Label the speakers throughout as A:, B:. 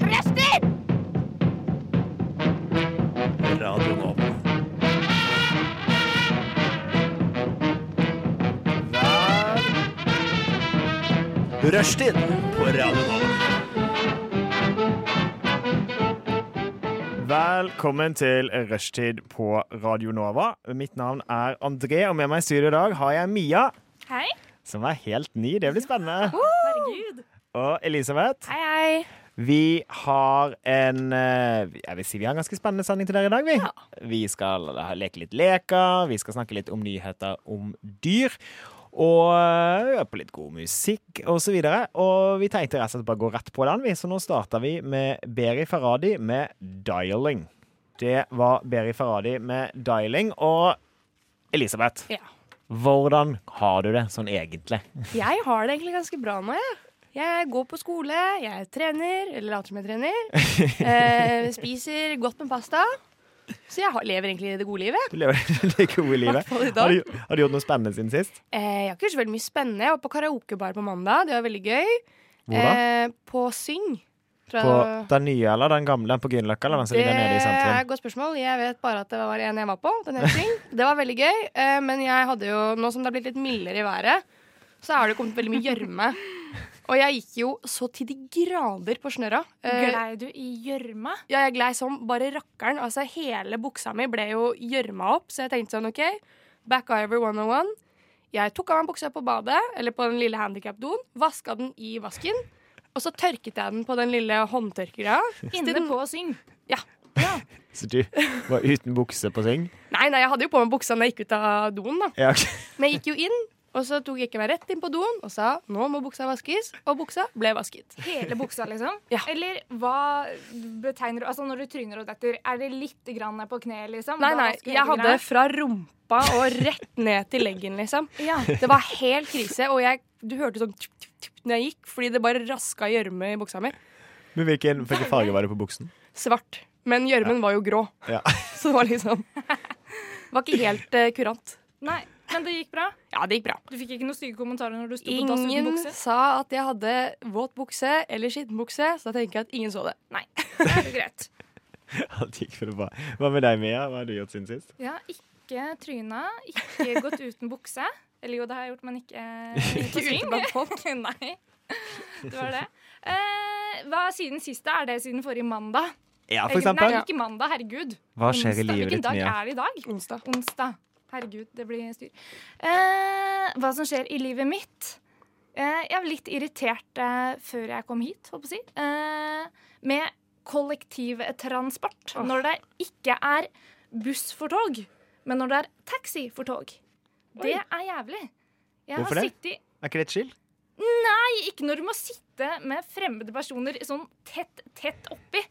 A: Rester!
B: Radio Nova. Hver Rushtid på Radio Nova.
C: Velkommen til Rushtid på Radio Nova. Mitt navn er André, og med meg i studio i dag har jeg Mia,
A: Hei.
C: som er helt ny. Det blir spennende.
A: Herregud.
C: Og Elisabeth.
A: Hei, hei.
C: Vi har en eh, Jeg vil si vi har en ganske spennende sending til dere i dag, vi. Vi skal ha- leke litt leker, vi skal snakke litt om nyheter om dyr. Og eh, høre på litt god musikk og så videre. Og vi tenkte rett og slett bare gå rett på den, vi. Så nå starter vi med Beri Faradi med 'Dialing'. Det var Beri Faradi med 'Dialing'. Og Elisabeth,
A: Ja.
C: hvordan har du det sånn egentlig?
A: Jeg har det egentlig ganske bra nå, jeg. Jeg går på skole, jeg trener, eller later som jeg trener. Eh, spiser godt med pasta. Så jeg har, lever egentlig det gode livet.
C: Du lever det gode livet.
A: Hvertfall i dag.
C: Har du, har du gjort noe spennende siden sist?
A: Eh, jeg har ikke gjort så veldig mye spennende. Jeg var på karaokebar på mandag, det var veldig gøy.
C: Hvor da?
A: Eh, på Syng. tror jeg det
C: På
A: var.
C: den nye eller den gamle på Grünerløkka? Eller den som
A: Det
C: ligger nede i
A: er et
C: sentrum?
A: Eh, godt spørsmål. Jeg vet bare at det var en jeg var på. Den het Syng. Det var veldig gøy. eh, Men jeg hadde jo, nå som det har blitt litt mildere i været, så har det kommet veldig mye gjørme. Og jeg gikk jo så til de grader på snørra. Eh,
D: Glei du i gjørma?
A: Ja, jeg glei som bare rakkeren. Altså, hele buksa mi ble jo gjørma opp, så jeg tenkte sånn, OK, Backiver 101. Jeg tok av meg buksa på badet, eller på den lille handikapdoen, vaska den i vasken, og så tørket jeg den på den lille håndtørkeren.
D: Inne på syng.
C: Så du var uten bukse på syng?
A: Nei, nei, jeg hadde jo på meg buksa når jeg gikk ut av doen, da.
C: Ja, ok.
A: Men jeg gikk jo inn, og så tok jeg ikke meg rett inn på doen og sa nå må buksa vaskes, og buksa ble vasket.
D: Hele buksa, liksom?
A: Ja.
D: Eller hva betegner du Altså Når du tryner og detter, er det litt grann ned på kneet, liksom?
A: Nei,
D: Da
A: nei,
D: vasker
A: jeg
D: hele
A: hadde fra rumpa og rett ned til leggen, liksom.
D: greia? ja.
A: Det var helt krise, og jeg, du hørte sånn tjup, tjup, tjup, når jeg gikk, fordi det bare raska gjørme i buksa mi.
C: Men hvilken, hvilken farge var det på buksen?
A: Svart. Men gjørmen var jo grå,
C: Ja.
A: så det var liksom Var ikke helt eh, kurant.
D: Nei, Men det gikk bra?
A: Ja, det gikk bra.
D: Du fikk ikke noen stygge kommentarer når du sto på dass uten
A: Ingen
D: bukse?
A: sa at jeg hadde våt bukse eller skittenbukse, så da tenker jeg at ingen så det.
D: Nei. Det er jo greit.
C: Alt gikk vel bra. Hva med deg, Mia? Hva har du gjort siden sist?
D: Ja, ikke tryna, ikke gått uten bukse. Eller jo, det har jeg gjort, men ikke Ikke ute blant folk. Nei. Det var det. Eh, hva er siden siste? Er det siden forrige mandag?
C: Ja, for
D: Herregud,
C: eksempel.
D: Nei, ikke mandag, herregud.
C: Hva skjer i
D: Onsdag.
C: livet
D: Hvilken
C: ditt,
D: dag
C: Mia?
D: er det i dag?
A: Onsdag.
D: Onsdag. Herregud, det blir styr. Eh, hva som skjer i livet mitt? Eh, jeg var litt irritert eh, før jeg kom hit, holdt på å si. Eh, med kollektivtransport.
A: Åh.
D: Når det ikke er buss for tog, men når det er taxi for tog. Det er jævlig. Jeg
C: Hvorfor
D: har
C: det?
D: sittet
C: Er ikke det et skill?
D: Nei, ikke når du må sitte med fremmede personer sånn tett, tett oppi.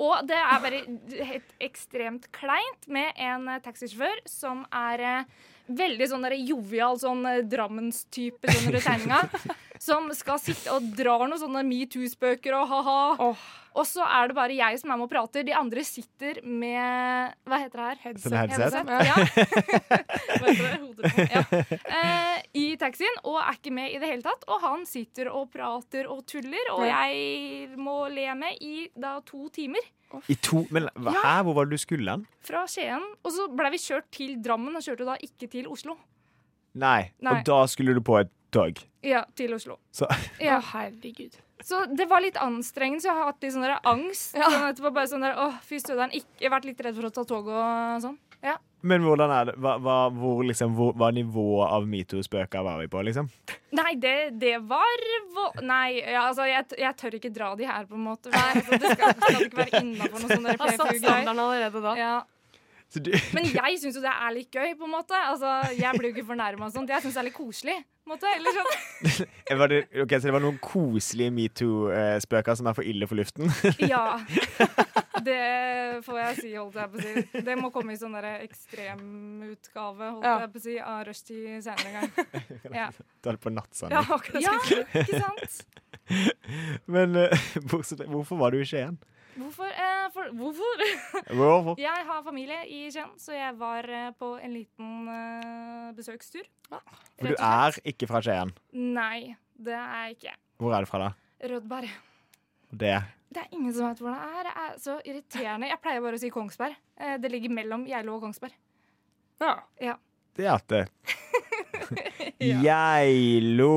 D: Og det er bare helt ekstremt kleint med en eh, taxisjåfør som er eh, veldig sånn der jovial, sånn eh, Drammens-type, sånn under tegninga. Som skal sitte og drar noen sånne metoo-spøker og ha-ha.
A: Åh,
D: Og så er det bare jeg som er med og prater. De andre sitter med Hva heter det her?
C: Sånn headset?
D: Ja. Hva heter det? Hodetelefonen. Ja. Eh, I taxien, og er ikke med i det hele tatt. Og han sitter og prater og tuller, og
A: Ja.
D: jeg må le med i da to timer.
C: I to Men hva, hæ, hvor var det du skulle hen?
D: Fra Skien. Og så ble vi kjørt til Drammen, og kjørte da ikke til Oslo.
C: Nei.
D: Nei.
C: Og da skulle du på et tog.
D: Ja, til Oslo.
C: Så
D: Ja.
A: å, herregud.
D: Så det var litt anstrengende, så jeg har hatt litt sånn der angst. Sånn etterpå bare sånn der, åh, fy støderen, ikke vært litt redd for å ta tog og sånn. Ja.
C: Men hvordan er det? Hva, hva, hvor, liksom, hvor, hva nivået av metoo-spøker var vi på, liksom?
D: Nei, det, det var vo Nei, ja, altså, jeg, t- jeg tør ikke dra de her, på en måte. Nei, altså, det skal, skal ikke være innafor noe sånn
A: Har satt
D: playfugl-greier.
A: standarden allerede da.
D: Ja.
C: Så du,
D: Men jeg syns jo det er litt gøy, på en måte. Altså, jeg blir jo ikke fornærma og sånt. Jeg syns det er litt koselig. På en måte. Eller sånn.
C: var det, ok, så det var noen koselige metoo-spøker som er for ille for luften?
D: Ja. Det får jeg si, holdt jeg på å si. Det må komme i sånn der ekstremutgave, holdt
A: Ja.
D: jeg på å si, av Rushdie senere en gang. Ja.
C: Da er det på nattsending.
D: Ja, ja, ikke sant?
C: Men eh, bortsett, hvorfor var du i Skien?
D: Hvorfor? Eh, for, hvorfor?
C: Hvorfor?
D: Jeg har familie i Skien, så jeg var eh, på en liten eh, besøkstur.
C: For du er ikke fra Skien.
D: Nei, det er jeg ikke.
C: Hvor er du fra, da?
D: Rødberg.
C: Det.
D: Det er ingen som vet hvor det er. Det er så irriterende. Jeg pleier bare å si Kongsberg. Eh, Det ligger mellom Geilo og Kongsberg.
A: Ja.
D: Ja.
C: Det er at eh, det. Geilo.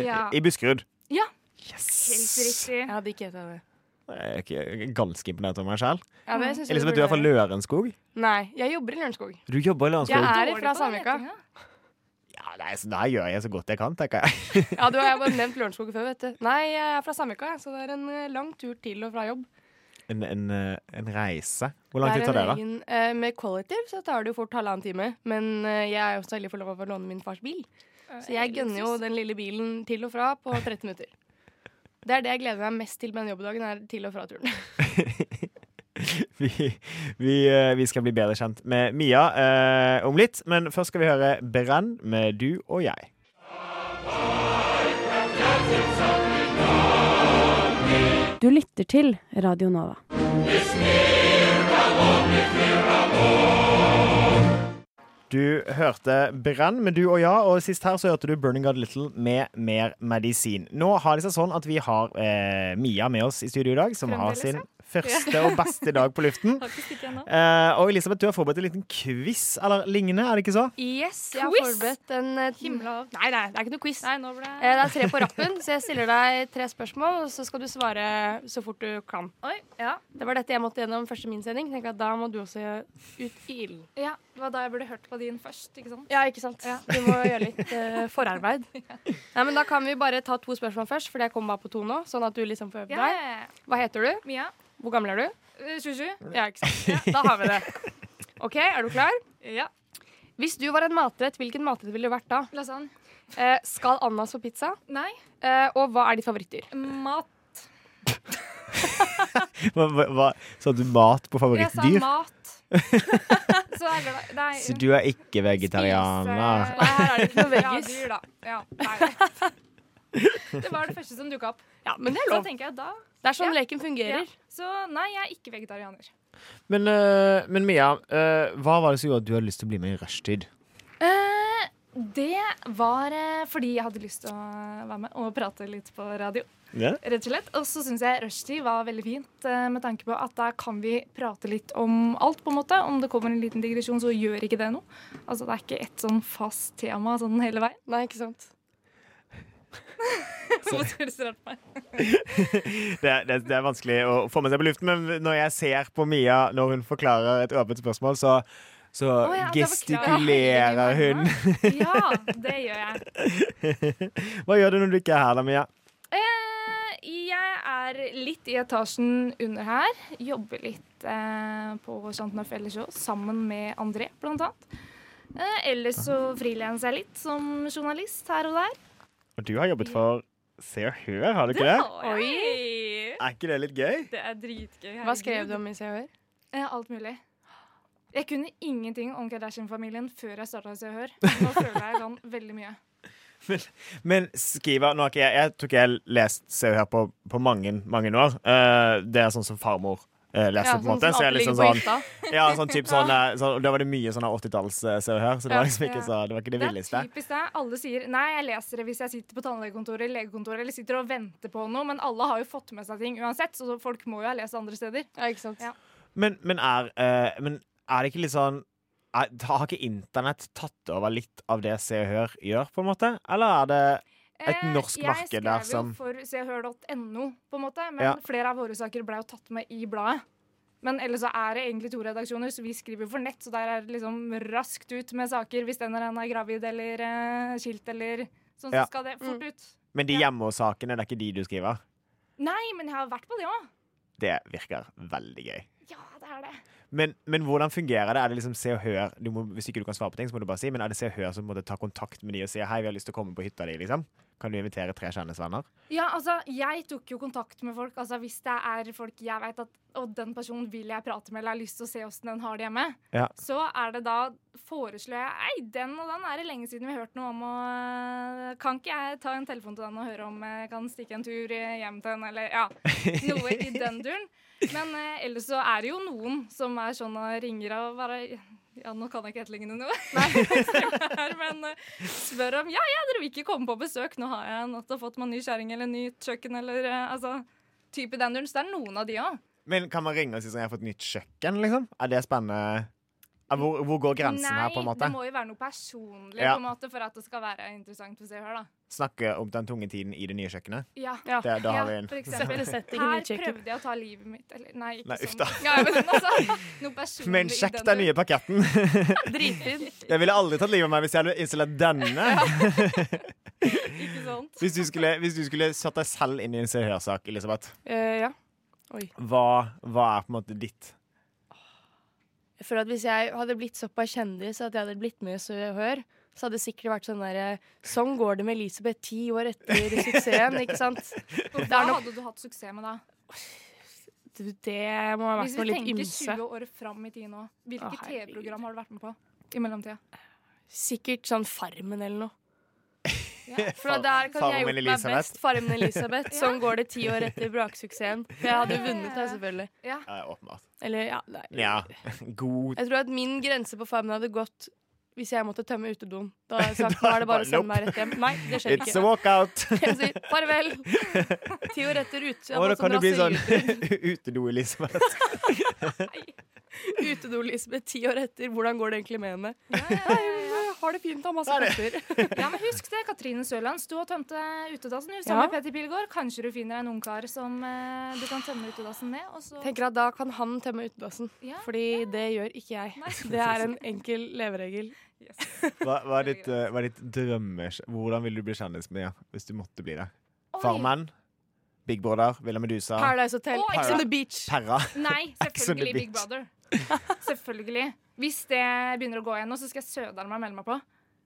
D: ja.
C: I Buskerud.
D: Ja. Helt
C: Yes.
D: riktig.
A: Jeg hadde ikke hett det.
C: Jeg er ikke ganske imponert over meg sjøl.
A: Ja, men jeg synes
C: Elisabeth, du er fra
A: burde-
C: Lørenskog.
A: Nei, jeg jobber i Lørenskog.
C: Du jobber i Lørenskog.
A: Jeg er
D: Dårlig
A: fra
D: på den
A: Sandvika.
D: letinga.
C: Ja, nei, så det her gjør jeg så godt jeg kan, tenker jeg.
A: Ja, du har jeg har bare nevnt Lørenskog før, vet du. Nei, jeg er fra Sandvika, jeg, så det er en eh, lang tur til og fra jobb.
C: En, en, eh, en reise. Hvor lang
A: er
C: tid tar det,
A: en
C: da?
A: egen- eh, med kollektiv så tar det jo fort halvannen time. Men eh, jeg er jo så heldig å få lov å låne min fars bil. Så jeg gønner jo den lille bilen til og fra på 13 minutter. Det er det jeg gleder meg mest til med den jobbdagen, er til og fra-turen.
C: Vi, vi, eh, vi skal bli bedre kjent med Mia eh, om litt, men først skal vi høre Brann med Du og jeg.
E: Du lytter til Radio Nova.
C: Du hørte Brann med Du og ja, og sist her så hørte du Burning God Little med Mer medisin. Nå har det seg sånn at vi har eh, Mia med oss i studio i dag, som har
D: Fremdeles,
C: sin første og beste dag på luften.
D: Har ikke stikket ennå.
C: Eh, og Elisabeth, du har forberedt en liten quiz eller lignende, er det ikke så?
A: Yes, jeg har
D: Quiz!
A: forberedt en eh,
D: Himla av.
A: Nei, nei, det er ikke noe quiz.
D: Nei, nå ble
A: Eh, Det er tre på rappen, så jeg stiller deg tre spørsmål, og så skal du svare så fort du kan.
D: Oi. Ja.
A: Det var dette jeg måtte gjennom første min sending. Tenk at Da må du også gjøre ut i ilden.
D: ja. Det var da jeg burde hørt på din først, ikke sant?
A: Ja, ikke sant? Du må gjøre litt eh, forarbeid. Nei, men Da kan vi bare ta to spørsmål først, for jeg kommer bare på to nå. Sånn at du liksom får øvd
D: Ja,
A: deg.
D: ja, ja.
A: Hva heter du?
D: Mia.
A: Hvor gammel er du?
D: eh, 27.
A: Ja, ikke sant? Da har vi det. OK, er du klar?
D: Ja.
A: Hvis du var en matrett, hvilken matrett ville du vært da?
D: Lasagne.
A: Eh, skal ananas på pizza?
D: Nei.
A: Eh, og hva er ditt favorittdyr?
D: Mat.
C: Hva, hva, hva, så hadde du mat på
D: Jeg sa
C: favorittdyr?
D: mat. Så er det Nei.
C: Så du er ikke vegetarianer?
D: Spise- Nei, her er det ikke noe
A: veggis.
D: Ja, dyr, da. Ja, nei. Det var det første som dukka opp.
A: Ja, men det er
D: Så
A: lov.
D: tenker jeg da
A: Det er sånn leken fungerer.
D: ja. Så nei, jeg er ikke vegetarianer.
C: Men, eh, men Mia, eh, hva var det som gjorde at du hadde lyst til å bli med i rushtid?
D: Eh, det var eh, fordi jeg hadde lyst til å være med og prate litt på radio. rett og slett. Og så syns jeg rushtid var veldig fint, eh, med tanke på at da kan vi prate litt om alt, på en måte. Om det kommer en liten digresjon, så gjør ikke det noe. Altså, det er ikke ett sånn fast tema sånn hele veien.
A: Nei, ikke sant?
D: Hvorfor ser du på meg?
C: Det, det, det er vanskelig å få med seg på luften, men når jeg ser på Mia når hun forklarer et åpent spørsmål, så, så
D: Å ja, da forklarer
C: gestikulerer
D: jeg
C: hun.
D: Ja, det gjør jeg.
C: Hva gjør du når du ikke er her da, Mia?
D: Eh, jeg er litt i etasjen under her. Jobber litt eh, på Chantneuf ellers òg, sammen med André, blant annet. Eh, ellers så frilanser jeg litt som journalist her og der.
C: Og du har jobbet for Se og Hør, har du ikke det?
D: Oi!
C: Er ikke det litt gøy?
D: Det er dritgøy.
A: Hva skrev du om i Se og Hør?
D: Eh, alt mulig. Jeg kunne ingenting om Kardashian-familien før jeg starta Se og Hør. Nå føler jeg kan veldig mye.
C: Men skriver nå har ikke jeg, jeg tror ikke jeg har lest Se og Hør på, på mange, mange år. Eh, det er sånn som farmor eh, leser, på en måte. Så jeg er liksom sånn Ja, sånn typ sånn, eh, sånn Da var det mye sånn 80-talls eh, Se og Hør, så det var liksom ikke, så, det, var ikke det
D: Det er
C: villeste.
D: typisk det. Alle sier nei, jeg leser det hvis jeg sitter på tannlegekontoret eller legekontoret eller sitter og venter på noe, men alle har jo fått med seg ting uansett, så folk må jo ha lest andre steder.
A: Ja, ikke sant?
D: Ja.
C: Men, men, er, eh, men er det ikke litt sånn er, Har ikke internett tatt over litt av det Se og Hør gjør, på en måte? Eller er det Et
D: Eh,
C: norsk marked der
D: Jeg skrev
C: som-
D: jo for seoghør.no, på en måte, men
C: Ja.
D: flere av våre saker ble jo tatt med i bladet. Men ellers så er det egentlig to redaksjoner, så vi skriver jo for nett, så der er det liksom raskt ut med saker hvis den og den er gravid eller eh, skilt eller sånn, så
C: Ja.
D: skal det fort ut.
C: Men de
D: Ja.
C: hjemme hos sakene, det er ikke de du skriver?
D: Nei, men jeg har vært på det òg.
C: Det virker veldig gøy.
D: Ja, det er det.
C: Men, men hvordan fungerer det? Er det liksom Se og Hør du må, Hvis ikke du kan svare på ting, så må du bare si Men er det Se og Hør som måtte ta kontakt med de og si Hei, vi har lyst til å komme på hytta di, liksom? Kan du invitere tre kjendisvenner?
D: Ja, altså, jeg tok jo kontakt med folk. Altså, Hvis det er folk jeg vet at Og den personen vil jeg prate med, eller har lyst til å se åssen den har det hjemme,
C: Ja.
D: så er det da foreslår jeg Ei, den og den er det lenge siden vi har hørt noe om, og øh, kan ikke jeg ta en telefon til den og høre om øh, jeg kan stikke en tur øh, hjem til den, eller ja, noe i den duren. Men øh, ellers så er det jo noen som er sånn og ringer og bare ja, nå kan jeg ikke etterligne noe, Nei, men øh, spør om ja, dere vil ikke komme på besøk. Nå har jeg nettopp fått meg ny kjerring eller nytt kjøkken eller eh, altså type dandruns. Det er noen av de òg.
C: Men kan man ringe og si sånn, jeg har fått nytt kjøkken, liksom? Er det spennende? Er, Hvor, hvor går grensen her, på en måte?
D: det må jo være noe personlig
C: Ja.
D: på en måte for at det skal være interessant for Se og Hør. da.
C: Snakke om den tunge tiden i det nye kjøkkenet?
D: Ja,
A: Ja.
C: Det, da har
D: Ja,
C: vi en.
D: for eksempel.
E: Sette settingen i
D: Her
E: kjøkken.
D: prøvde jeg å ta livet mitt. Eller, nei, ikke
C: Nei, uff
D: sånn.
C: da.
D: Ja, men altså, noe personlig
C: Men
D: i
C: sjekk
D: den
C: den nye paketten.
A: Dritfint.
C: Jeg ville aldri tatt livet av meg hvis jeg hadde installert denne.
D: Ikke sant?
C: Hvis du skulle, hvis du skulle satt deg selv inn i en seriøssak, Elisabeth,
A: Eh, ja.
C: hva, hva er på en måte ditt?
A: Jeg føler at Hvis jeg hadde blitt såpass kjendis at jeg hadde blitt med i Se og Hør, så hadde det sikkert vært sånn der eh, Sånn går det med Elisabeth ti år etter suksessen, ikke sant?
D: Og hva hadde du hatt suksess med da?
A: Du, Det må ha vært
D: Hvis vi
A: noe litt
D: tenker
A: ymse.
D: 20 år fram i tid nå,
A: Å,
D: hvilke
A: herregud.
D: TV-program har du vært med på i mellomtida?
A: Sikkert sånn Farmen eller noe.
D: Ja.
A: For der kan
C: Farmen
A: jeg gjort meg
C: Elisabeth.
A: best. Farmen Elisabeth. Sånn går det ti år etter braksuksessen. For jeg hadde vunnet da, selvfølgelig.
D: Ja.
C: Ja, åpenbart.
A: Eller, ja, nei.
C: Ja, god
A: Jeg tror at min grense på Farmen hadde gått hvis jeg måtte tømme utedoen. Da hadde jeg sagt nå er det bare å sende meg rett hjem. Nei, det skjer
C: It's a
A: ikke.
C: walkout!
A: Jeg sier farvel. Ti år etter ut. Jeg
C: Og da
A: hadde
C: kan
A: sånn
C: du bli sånn
A: raseri-
C: utedo, Elisabeth.
A: Utedo, Lisbeth. Ti år etter. Hvordan går det egentlig med henne?
D: Ja, ja, ja, ja.
A: Jeg har det fint, har masse
C: Er det?
A: kopper.
D: ja, men Husk det, Katrine Sørlands. Du og tømte utedassen du, sammen
A: Ja.
D: med Petter Pilgaard. Kanskje du finner en ungkar som eh, du kan tømme utedassen med. Og så
A: Tenker at da kan han tømme utedassen.
D: Ja.
A: Fordi det gjør ikke jeg.
D: Nei.
A: Det er en enkel leveregel.
C: Hva, hva er ditt, eh, hva er ditt drømme... Hvordan vil du bli kjendis med ja, hvis du måtte bli det?
D: Oi.
C: Farmen, Big Brother, Villa Medusa,
A: Paradise Hotel,
D: Å,
A: Ex on
C: Para-
A: the Beach.
C: Perra.
D: Nei,
C: Ex on the
D: selvfølgelig Big
C: Beach.
D: Brother. Selvfølgelig. Hvis det begynner å gå igjen nå, så skal jeg sødere meg og melde meg på.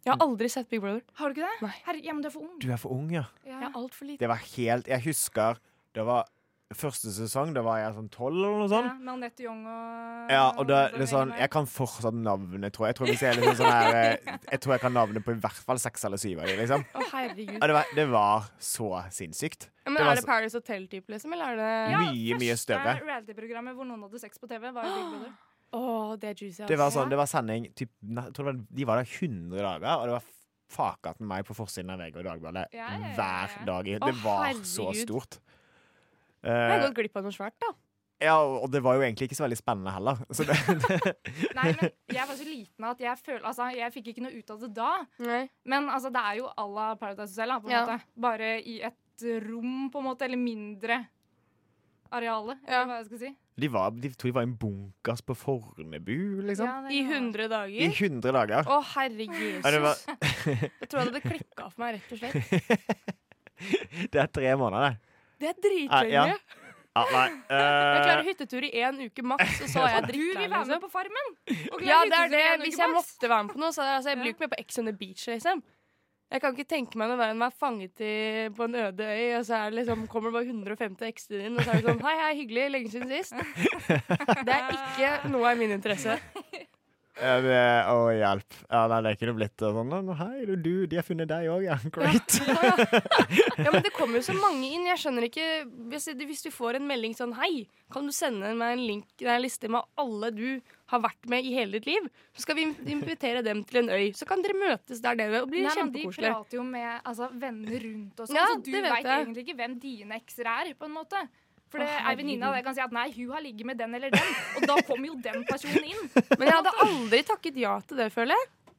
A: Jeg har aldri sett Big Brother.
D: Har du ikke det?
A: Nei.
D: Herre, ja, men du er for ung.
C: Du er for ung, ja.
D: Ja.
A: Jeg er altfor liten.
C: Det var helt Jeg husker det var første sesong, da var jeg sånn tolv eller noe sånt.
D: Ja, med Anette Young og
C: Ja, og da,
D: og
C: det er sånn, Jeg kan fortsatt navnet, tror jeg. Jeg tror, hvis jeg, er liksom sånn her, eh, jeg tror jeg kan navnet på i hvert fall seks eller syv av dem. Liksom.
A: Å, herregud.
C: Ja, det, var- det var så sinnssykt.
A: Ja, men
C: det var
A: er det Paradise Hotel-type, liksom? Eller er det
D: Ja,
C: mye, mye større.
D: Første reality-programmet hvor noen hadde sex på TV, var jo Big Brother.
A: Å, det er juicy. altså. ass.
C: Det var, sånn, det var sending typ, nei, jeg tror det var, De var der 100 dager, og det var fakaten meg på forsiden av VG og Dagbladet
D: Ja, ja, ja, ja.
C: hver dag. i- Det
A: Å,
C: var så
A: herregud.
C: stort.
A: Jeg har
C: Eh,
A: gått glipp av noe svært, da.
C: ja, og det var jo egentlig ikke så veldig spennende heller. Så det,
D: Nei, men jeg var så liten at jeg føler Altså, jeg fikk ikke noe ut av det da.
A: Nei.
D: Men altså, det er jo à la Paradise Hotel, da, på en
A: Ja.
D: måte. Bare i et rom, på en måte, eller mindre areale,
A: Ja.
D: eller hva jeg skal si.
C: de, var, de to var i en bunkers på Fornebu, liksom.
D: Ja, det
A: I
D: kan være.
A: 100
C: I
A: dager.
C: 100 dager.
A: Å, herre
C: Ja, det, var,
A: Jesus. Jeg tror jeg hadde klikka for meg, rett og slett.
C: det er tre måneder, det.
A: Det er
C: Eh, Ja,
D: Ah,
A: dritlenge.
C: ja. Ja, nei.
A: Jeg klarer
C: eh,
A: hyttetur i én uke maks, og så er jeg
D: Du vil
A: dritlei.
D: være med
A: Liksom.
D: på Farmen! Og
A: Ja,
D: klare
A: det er
D: hyttetur
A: det.
D: i en
A: Hvis
D: uke
A: jeg
D: maks.
A: måtte være med på noe, så er det- altså, jeg
D: Ja.
A: blir ikke med på Ex on the Beach, liksom. Jeg kan ikke tenke meg noe verre enn å være fanget i, på en øde øy, og så er det liksom, kommer det bare 150 ekser inn, og så er det sånn Hei, hei, hyggelig. Lenge siden sist. Det er ikke noe av min interesse.
C: eh, det- Å, hjelp. Ja, nei, det kunne blitt eh, sånn «Nå, Hei, du, du, de har funnet deg òg, ja. Great.
A: Ja, men det kommer jo så mange inn. Jeg skjønner ikke Hvis, hvis du får en melding sånn Hei, kan du sende meg en link nei, en liste med alle du har vært med i hele ditt liv? Så skal vi invitere dem til en øy. Så kan dere møtes der nede, og bli
D: Nei, men De
A: kjempekoselig.
D: prater jo med altså, venner rundt og sånn,
A: Ja,
D: så du
A: det vet
D: veit
A: jeg.
D: egentlig ikke hvem dine ekser er. på en måte. For
A: Å,
D: det er venninne av deg kan si at 'nei, hun har ligget med den eller den', og da kommer jo den personen inn.
A: Men jeg hadde aldri takket ja til det, føler jeg.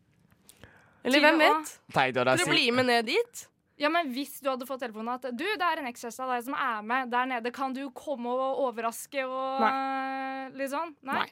A: Eller hvem
D: Til å-
A: vet?
C: Tenk deg, det er
A: Dere
C: sikkert-
A: blir med ned dit.
D: Ja, men Hvis du hadde fått telefonen at 'du, det er en ekskjæreste av deg som er med der nede', kan du komme og overraske og eh, litt sånn? Nei.
A: Nei.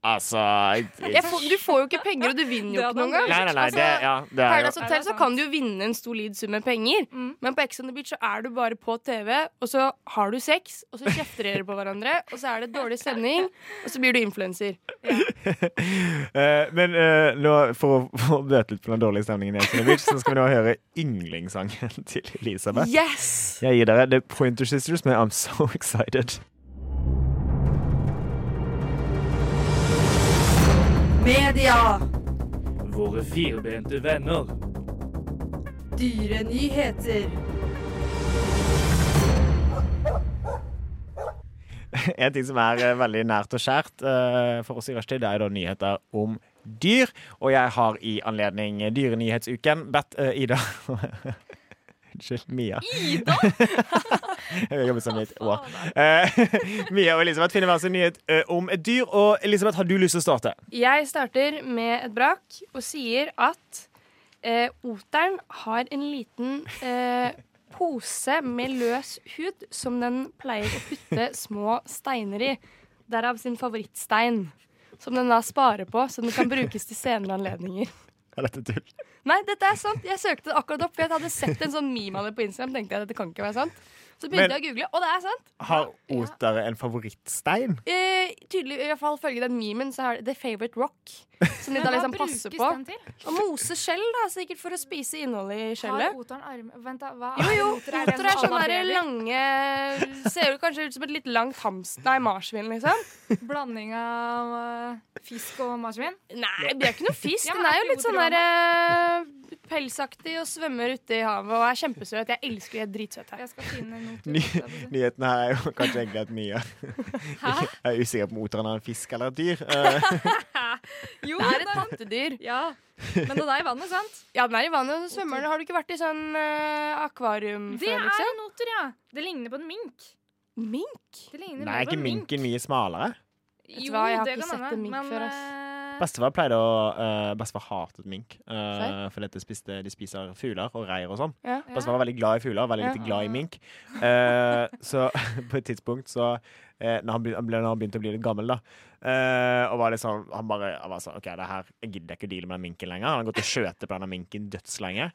C: Altså
A: Jeg får, du får jo ikke altså, penger, og du vinner jo
D: Det
A: ikke noen
D: hadde
A: gang.
C: Nei, nei, nei, det, ja, det er jo
A: Paradise Hotel så kan du jo vinne en solid sum med penger,
D: Mm.
A: men på Ex on the Beach så er du bare på TV, og så har du sex, og så kjefter dere på hverandre, og så er det dårlig stemning, og så blir du influenser.
C: Eh, Men eh, nå, for å, for å bøte litt på den dårlige stemningen i Ex on the Beach, så skal vi nå høre yndlingssangen til Elisabeth.
A: Yes!
C: Jeg gir dere The Pointer Sisters med I'm So Excited.
F: Media,
B: Våre firbente venner.
F: dyre nyheter,
C: En ting som er eh, veldig nært og skjært eh, for oss i rushtid, det er da nyheter om dyr. Og jeg har i anledning Dyrenyhetsuken bedt eh, Ida Unnskyld, Mia.
D: Ida!
C: Jeg har jobbet sammen i et år.
D: Fader.
C: Eh, Mia og Elisabeth finner hver sin nyhet eh, om et dyr. Og Elisabeth, har du lyst til å starte?
A: Jeg starter med et brak og sier at eh, oteren har en liten eh, pose med løs hud som den pleier å putte små steiner i. Derav sin favorittstein. Som den da sparer på, så den kan brukes til senere anledninger.
C: Er dette tull?
A: Nei, dette er sant. Jeg søkte det akkurat opp, for jeg hadde sett en sånn meme av det på Instagram. tenkte jeg, dette kan ikke være sant. Så begynte
C: Men-
A: jeg å google, og det er sant.
C: Har otere en favorittstein?
A: Eh, tydelig, i hvert fall Følge den memen så har det The Favorite Rock. Som de
D: Men
A: da
D: hva
A: liksom
D: brukes
A: passer på.
D: den til?
A: Og mose skjell, da, sikkert for å spise innholdet i
D: Har
A: skjellet.
D: oteren arm... Vent, da. Hva
A: Jo, jo,
D: oter er
A: oter
D: en
A: er sånn der
D: analbaby?
A: lange Ser jo kanskje ut som et litt langt hamster Nei, marsvin, liksom.
D: Blanding av eh, fisk og marsvin?
A: Nei, det er ikke noe fisk.
D: Ja,
A: Den
D: men
A: er
D: er
A: jo
D: ikke
A: litt sånn
D: oter
A: der eh, pelsaktig og svømmer ute i havet og er kjempesøt. Jeg elsker de er dritsøte.
D: Jeg skal finne noe til
C: Ny,
D: dette, altså.
C: nyheten her er jo kanskje egentlig at Mia Jeg er usikker på om oteren er en fisk eller et dyr. Eh,
D: Jo,
A: Det er et
D: den-
A: pattedyr.
D: Ja. Men den er i vannet, sant?
A: Ja, den er i vannet, og så svømmer den. Har du ikke vært i sånn eh, akvarium
D: Det
A: før,
D: er
A: liksom?
D: en oter, ja. Det ligner på en mink.
A: Mink?
D: Det ligner
C: Nei, er
D: mer på
C: ikke
D: en mink.
C: minken mye smalere?
A: Vet du
D: Jo,
A: hva, jeg har
D: det
A: ikke
D: kan
A: sett
D: hende,
A: en mink
D: men,
A: før,
D: eh,
C: Bestefar pleide å uh, Bestefar hatet mink. Uh, fordi at de, spiste, de spiser fugler og reir og sånn.
A: Ja.
C: Bestefar var veldig glad i fugler, veldig
A: Ja.
C: lite glad i mink. Eh, så på et tidspunkt så eh, når han, begy- han ble, når han begynte å bli litt gammel, da eh, Og var litt sånn Han bare han var sånn, OK, det her jeg gidder ikke å deale med den minken lenger. Han har gått og skjøtet på denne minken dødslenge.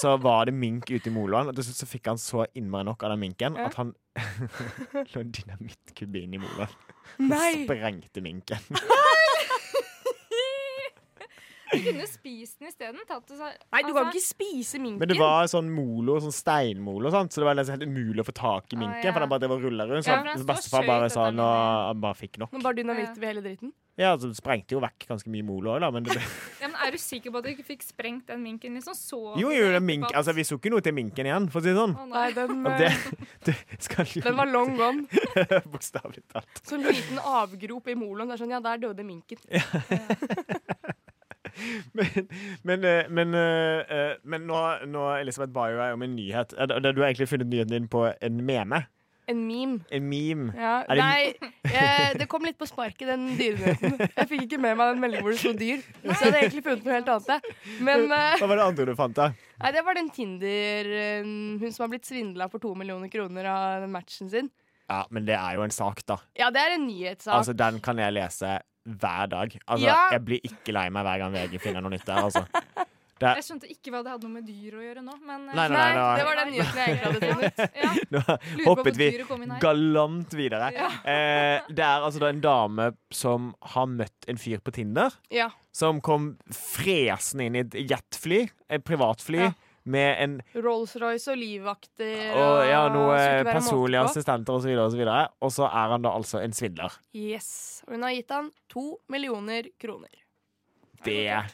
C: Så var det mink ute i moloen, og til slutt så fikk han så innmari nok av den minken at han lå en dynamittkubbe inn i moloen og
A: Nei!
C: sprengte minken.
D: Du kunne spist den isteden. tatt det så-
A: Nei, du kan
D: altså,
A: ikke spise minken.
C: Men det var en sånn molo, sånn steinmolo, sant? så det var nesten helt umulig å få tak i
D: Å,
C: minken.
D: ja.
C: For den bare drev og rulla rundt. Så
D: Ja, for den
C: bestefar
D: står
C: bare
D: skjøt,
C: sa
D: dette
C: nå
D: minnet.
C: han bare fikk nok.
A: Men bare dynamitt ved hele dritten?
C: Ja, så sprengte jo vekk ganske mye molo òg, da. Men det ble...
D: ja, men Er du sikker på at du ikke fikk sprengt den minken? liksom så
C: jo, jo, det er mink. Altså, vi så ikke noe til minken igjen, for å si det sånn.
D: Å,
A: Nei,
D: nei.
A: den, eh,
C: Og det, det skal jo
A: den var long gone.
C: bokstavelig talt.
A: Sånn liten avgrop i moloen. Det er sånn, ja, der døde minken.
C: Men, men, eh, men, eh, eh, men nå, nå Elisabeth ba jo deg om en nyhet. Eh, det- Du har egentlig funnet nyheten din på en meme.
A: En meme.
C: En meme.
A: Ja,
C: Er det-
A: nei, eh, det kom litt på sparket, den dyrenyheten. Jeg fikk ikke med meg den meldingen hvor det sto dyr. Så jeg hadde egentlig funnet noe helt annet. jeg. Men eh,
C: Hva var det andre du fant, da?
A: nei, det var den Tinder eh, Hun som har blitt svindla for to millioner kroner av den matchen sin.
C: Ja, men det er jo en sak, da.
A: Ja, det er en nyhetssak.
C: Altså, den kan jeg lese hver dag. Altså,
A: Ja.
C: Jeg blir ikke lei meg hver gang VG finner noe nytt der. Altså. Det
D: Jeg skjønte ikke hva det hadde noe med dyr å gjøre nå, men eh,
C: Nei, nei,
A: nei,
C: nei.
A: det var den nyheten jeg egentlig hadde funnet.
D: Ja,
C: Nå
D: lurer på
C: hoppet
D: hvorfor
C: vi
D: dyret kom inn her.
C: galant videre.
D: Ja.
C: Eh, det er altså da en dame som har møtt en fyr på Tinder,
A: Ja,
C: som kom fresende inn i et jetfly, et privatfly,
A: Ja.
C: med en
A: Rolls-Royce og livvakter
C: og, ja, noe
A: skulle ikke være
C: personlige
A: måte på.
C: assistenter osv., og, så videre. og så er han da altså en svindler.
A: Yes. Og hun har gitt han to millioner kroner.
C: Det er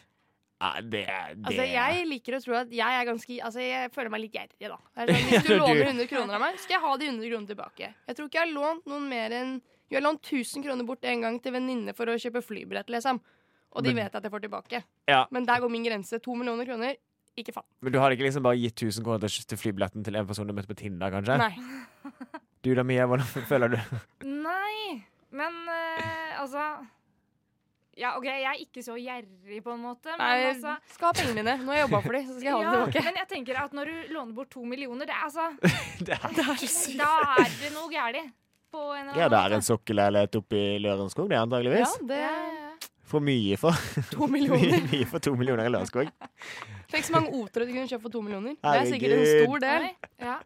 C: det, det
A: Altså, jeg liker å tro at jeg er ganske Altså, jeg føler meg litt gjerrig, da. Det er Sånn, hvis du
C: Ja, du-
A: låner 100 kroner av meg, skal jeg ha de 100 kronene tilbake. Jeg tror ikke jeg har lånt noen mer enn Jeg har lånt 1000 kroner bort en gang til venninne for å kjøpe flybillett, liksom. Og de
C: Men-
A: vet at jeg får tilbake.
C: Ja.
A: Men der går min grense. To millioner kroner. Ikke faen.
C: Men du hadde ikke liksom bare gitt 1000 kroner til til flybilletten til en person du møtte på Tinder, kanskje?
A: Nei.
C: Du da, Mia, hvordan føler du?
D: Nei, men eh, altså Ja, OK, jeg er ikke så gjerrig, på en måte, men
A: Nei, jeg
D: altså
A: skal ha pengene mine. Nå har jeg jobba for dem, så skal jeg ha dem
D: ja,
A: tilbake.
D: men jeg tenker at når du låner bort to millioner, det er altså
C: Det er,
D: Da er det noe gærent. På en eller
C: ja,
D: annen
C: det er en
D: måte.
C: sokkelleilighet oppe i Lørenskog, det er
A: Ja,
C: antageligvis.
A: det
D: Ja,
A: er
D: ja, ja.
C: For mye for,
A: to millioner.
C: mye, mye for to millioner i Lørenskog.
A: Tenk så mange otere du kunne kjøpt for to millioner. Det er sikkert en
C: Herregud.
A: stor del.
D: Nei, Ja.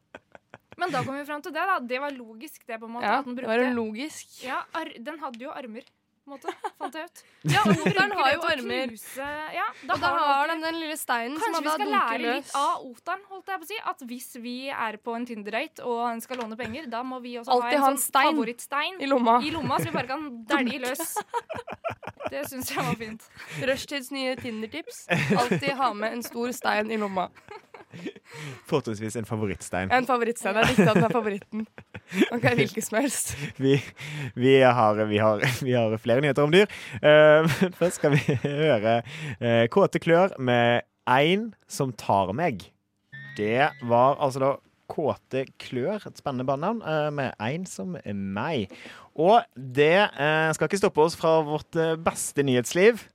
D: Men da kom vi fram til det, da. Det var logisk, det, på en måte.
A: Ja,
D: at den
A: det
D: brukte
A: var jo logisk.
D: ja, ar Den hadde jo armer, på en måte. Fant jeg ut.
A: Ja,
D: Så bruker
A: oteren har
D: det
A: jo
D: til å
A: armer.
D: knuse- Ja, da
A: Og da
D: har
A: har
D: den
A: den den lille steinen
D: Kanskje
A: som
D: vi
A: han da
D: skal
A: dunker
D: lære litt
A: løs.
D: av oteren, holdt jeg på å si. At hvis vi er på en Tinder-date og han skal låne penger, da må vi også
A: Alltid ha
D: ha
A: en
D: en sånn
A: stein
D: favorittstein
A: I lomma.
D: i lomma, så vi bare kan dælje løs. Det syns jeg var fint.
A: Rushtids nye Tinder-tips. Alltid ha med en stor stein i lomma.
C: Fortrinnsvis en favorittstein.
A: En favorittstein. Det er viktig at den er favoritten. Man kan hvilken som helst.
C: Vi, vi, har, vi, har, vi har flere nyheter om dyr. Eh, men først skal vi høre eh, Kåte klør med Ein som tar meg. Det var altså da Kåte klør, et spennende bandnavn, eh, med en som meg. Og det eh, skal ikke stoppe oss fra vårt eh, beste nyhetsliv.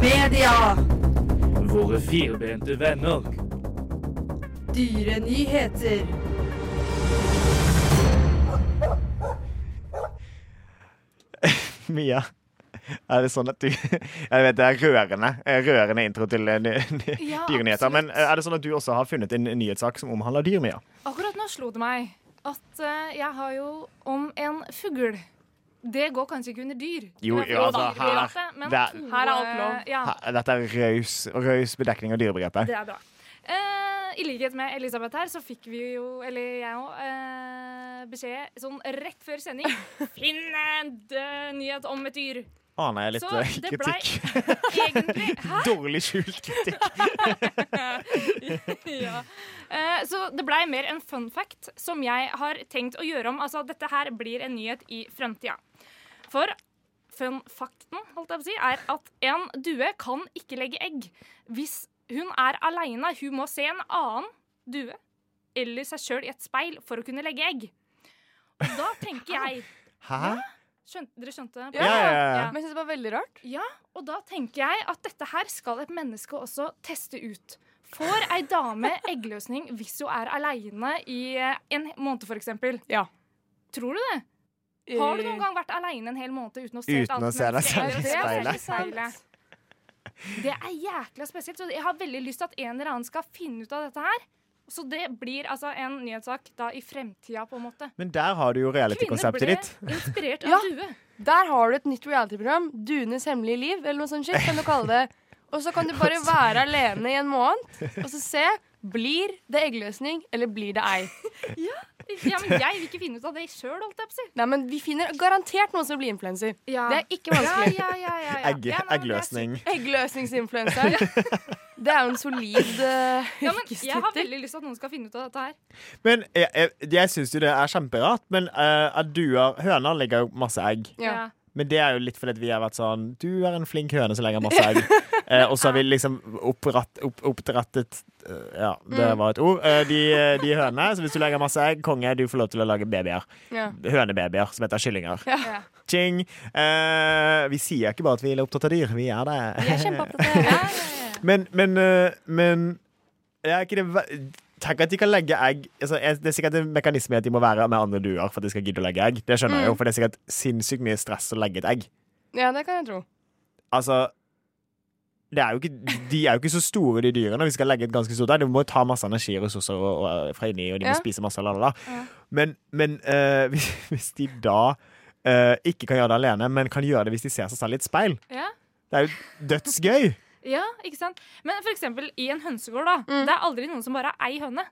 F: Media.
B: Våre firbente venner.
F: Dyre nyheter.
C: Mia. Er det sånn at du Jeg vet det er rørende, eh, rørende intro til eh, ny- ny-
D: Ja,
C: dyrenyheter. Men
D: absolutt.
C: eh, er det sånn at du også har funnet en nyhetssak som omhandler dyr, Mia?
D: Akkurat nå slo det meg at eh, jeg har jo om en fugl. Det går kanskje ikke under dyr.
C: Jo,
D: Det er
C: jo,
D: jo
C: altså,
D: dyrebegrepet,
C: her-
D: men
C: der-
D: to,
A: Her er alt lov.
D: eh, Ja,
C: Her- Dette er raus, raus bedekning av dyrebegrepet.
D: det er bra. Eh, I likhet med Elisabeth her, så fikk vi jo, eller jeg òg, eh, beskjed sånn rett før sending Finn en død nyhet om et dyr!
C: Aner jeg litt
D: Så
C: eh,
D: det blei-
C: kritikk.
D: Egentlig. Hæ?
C: Dårlig skjult kritikk.
D: ja. Eh, så det blei mer en fun fact som jeg har tenkt å gjøre om. Altså, dette her blir en nyhet i framtida. For fun facten holdt jeg på å si, er at en due kan ikke legge egg hvis hun er aleine. Hun må se en annen due eller seg sjøl i et speil for å kunne legge egg. Og da tenker jeg
C: Hæ?
D: skjønt, Dere skjønte?
A: Ja,
C: ja, ja.
A: Men jeg synes det var veldig rart.
D: Og da tenker jeg at dette her skal et menneske også teste ut. Får ei dame eggløsning hvis hun er aleine i eh, en måned, f.eks.?
A: Ja.
D: Tror du det?
A: Eh.
D: Har du noen gang vært aleine en hel måned uten å se
C: Uten å se deg selv i
D: speilet?
A: speilet.
D: Det er jækla spesielt. Så jeg har veldig lyst til at en eller annen skal finne ut av dette her. Så det blir altså en nyhetssak da i fremtida, på en måte.
C: Men der har du jo
D: Kvinner
C: reality-konseptet
D: ble
C: ditt.
D: inspirert
A: Ja.
D: av due.
A: Der har du et nytt reality-program. 'Duenes hemmelige liv', eller noe sånt shit, kan du kalle det. Og så kan du bare være alene i en måned og så se. Blir det eggløsning, eller blir det ei?
D: Ja, men jeg vil ikke finne ut av det sjøl, holdt jeg på å si.
A: Nei, men Vi finner garantert noen som blir influenser.
D: Ja.
A: Det er ikke vanskelig.
D: Ja, ja, ja, ja, ja.
C: Egg,
D: Ja, nei, men det er
C: eggløsning.
A: Eggløsningsinfluenser. Det er jo en solid uh,
D: Ja, men jeg har
A: yrkestittel.
D: veldig lyst til at noen skal finne ut av dette her.
C: Men jeg, jeg, jeg syns jo det er kjemperart. Men eh, at duer Høner legger jo masse egg.
A: Ja.
C: Men det er jo litt fordi at vi har vært sånn Du er en flink høne som legger masse egg. Eh, og så har vi liksom oppratt, opp, oppdrettet eh, Ja, det var et ord. Eh, de, de hønene. Så hvis du legger masse egg, konge, du får lov til å lage babyer.
A: Ja.
C: Hønebabyer som heter kyllinger.
D: Ja.
C: Ching. Eh, vi sier ikke bare at vi er opptatt av dyr, vi er det.
A: Vi er kjempeopptatt av det.
C: Men, men, øh, men er ikke det ve- Tenk at de kan legge egg altså, jeg- Det er sikkert en mekanisme i at de må være med andre duer for at de skal gidde å legge egg. Det skjønner jeg jo, for det er sikkert sinnssykt mye stress å legge et egg.
A: Ja, det kan jeg tro.
C: Altså det er jo ikke, de er jo ikke så store, de dyrene. Vi skal legge et ganske stort egg. De må jo ta masse energi og ressurser og, og, eh, fra inni, og de må
A: Ja.
C: spise masse. La, la, la. Men, men øh, hvis, hvis de da øh, ikke kan gjøre det alene, men kan gjøre det hvis de ser seg selv i et speil
D: Ja.
C: Det er jo dødsgøy!
D: Ja, ikke sant? Men for eksempel i en hønsegård, da.
A: Mm.
D: Det er aldri noen som bare har ei høne.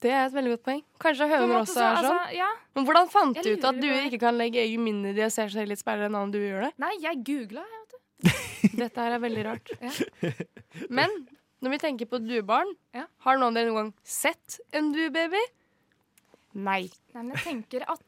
A: Det er et veldig godt poeng. Kanskje
D: På en
A: høner
D: måte
A: også
D: så-
A: er sånn.
D: altså, ja.
A: Men hvordan fant
D: Jeg
A: du ut at
D: lurer
A: duer
D: på-
A: ikke kan legge egg i mindre de ser seg litt speilere enn annen due gjør det?
D: Nei, jeg googla. Ja.
A: Dette her er veldig rart. Men når vi tenker på duebarn,
D: Ja.
A: har noen av dere noen gang sett en duebaby? Nei.
D: Nei, men jeg tenker at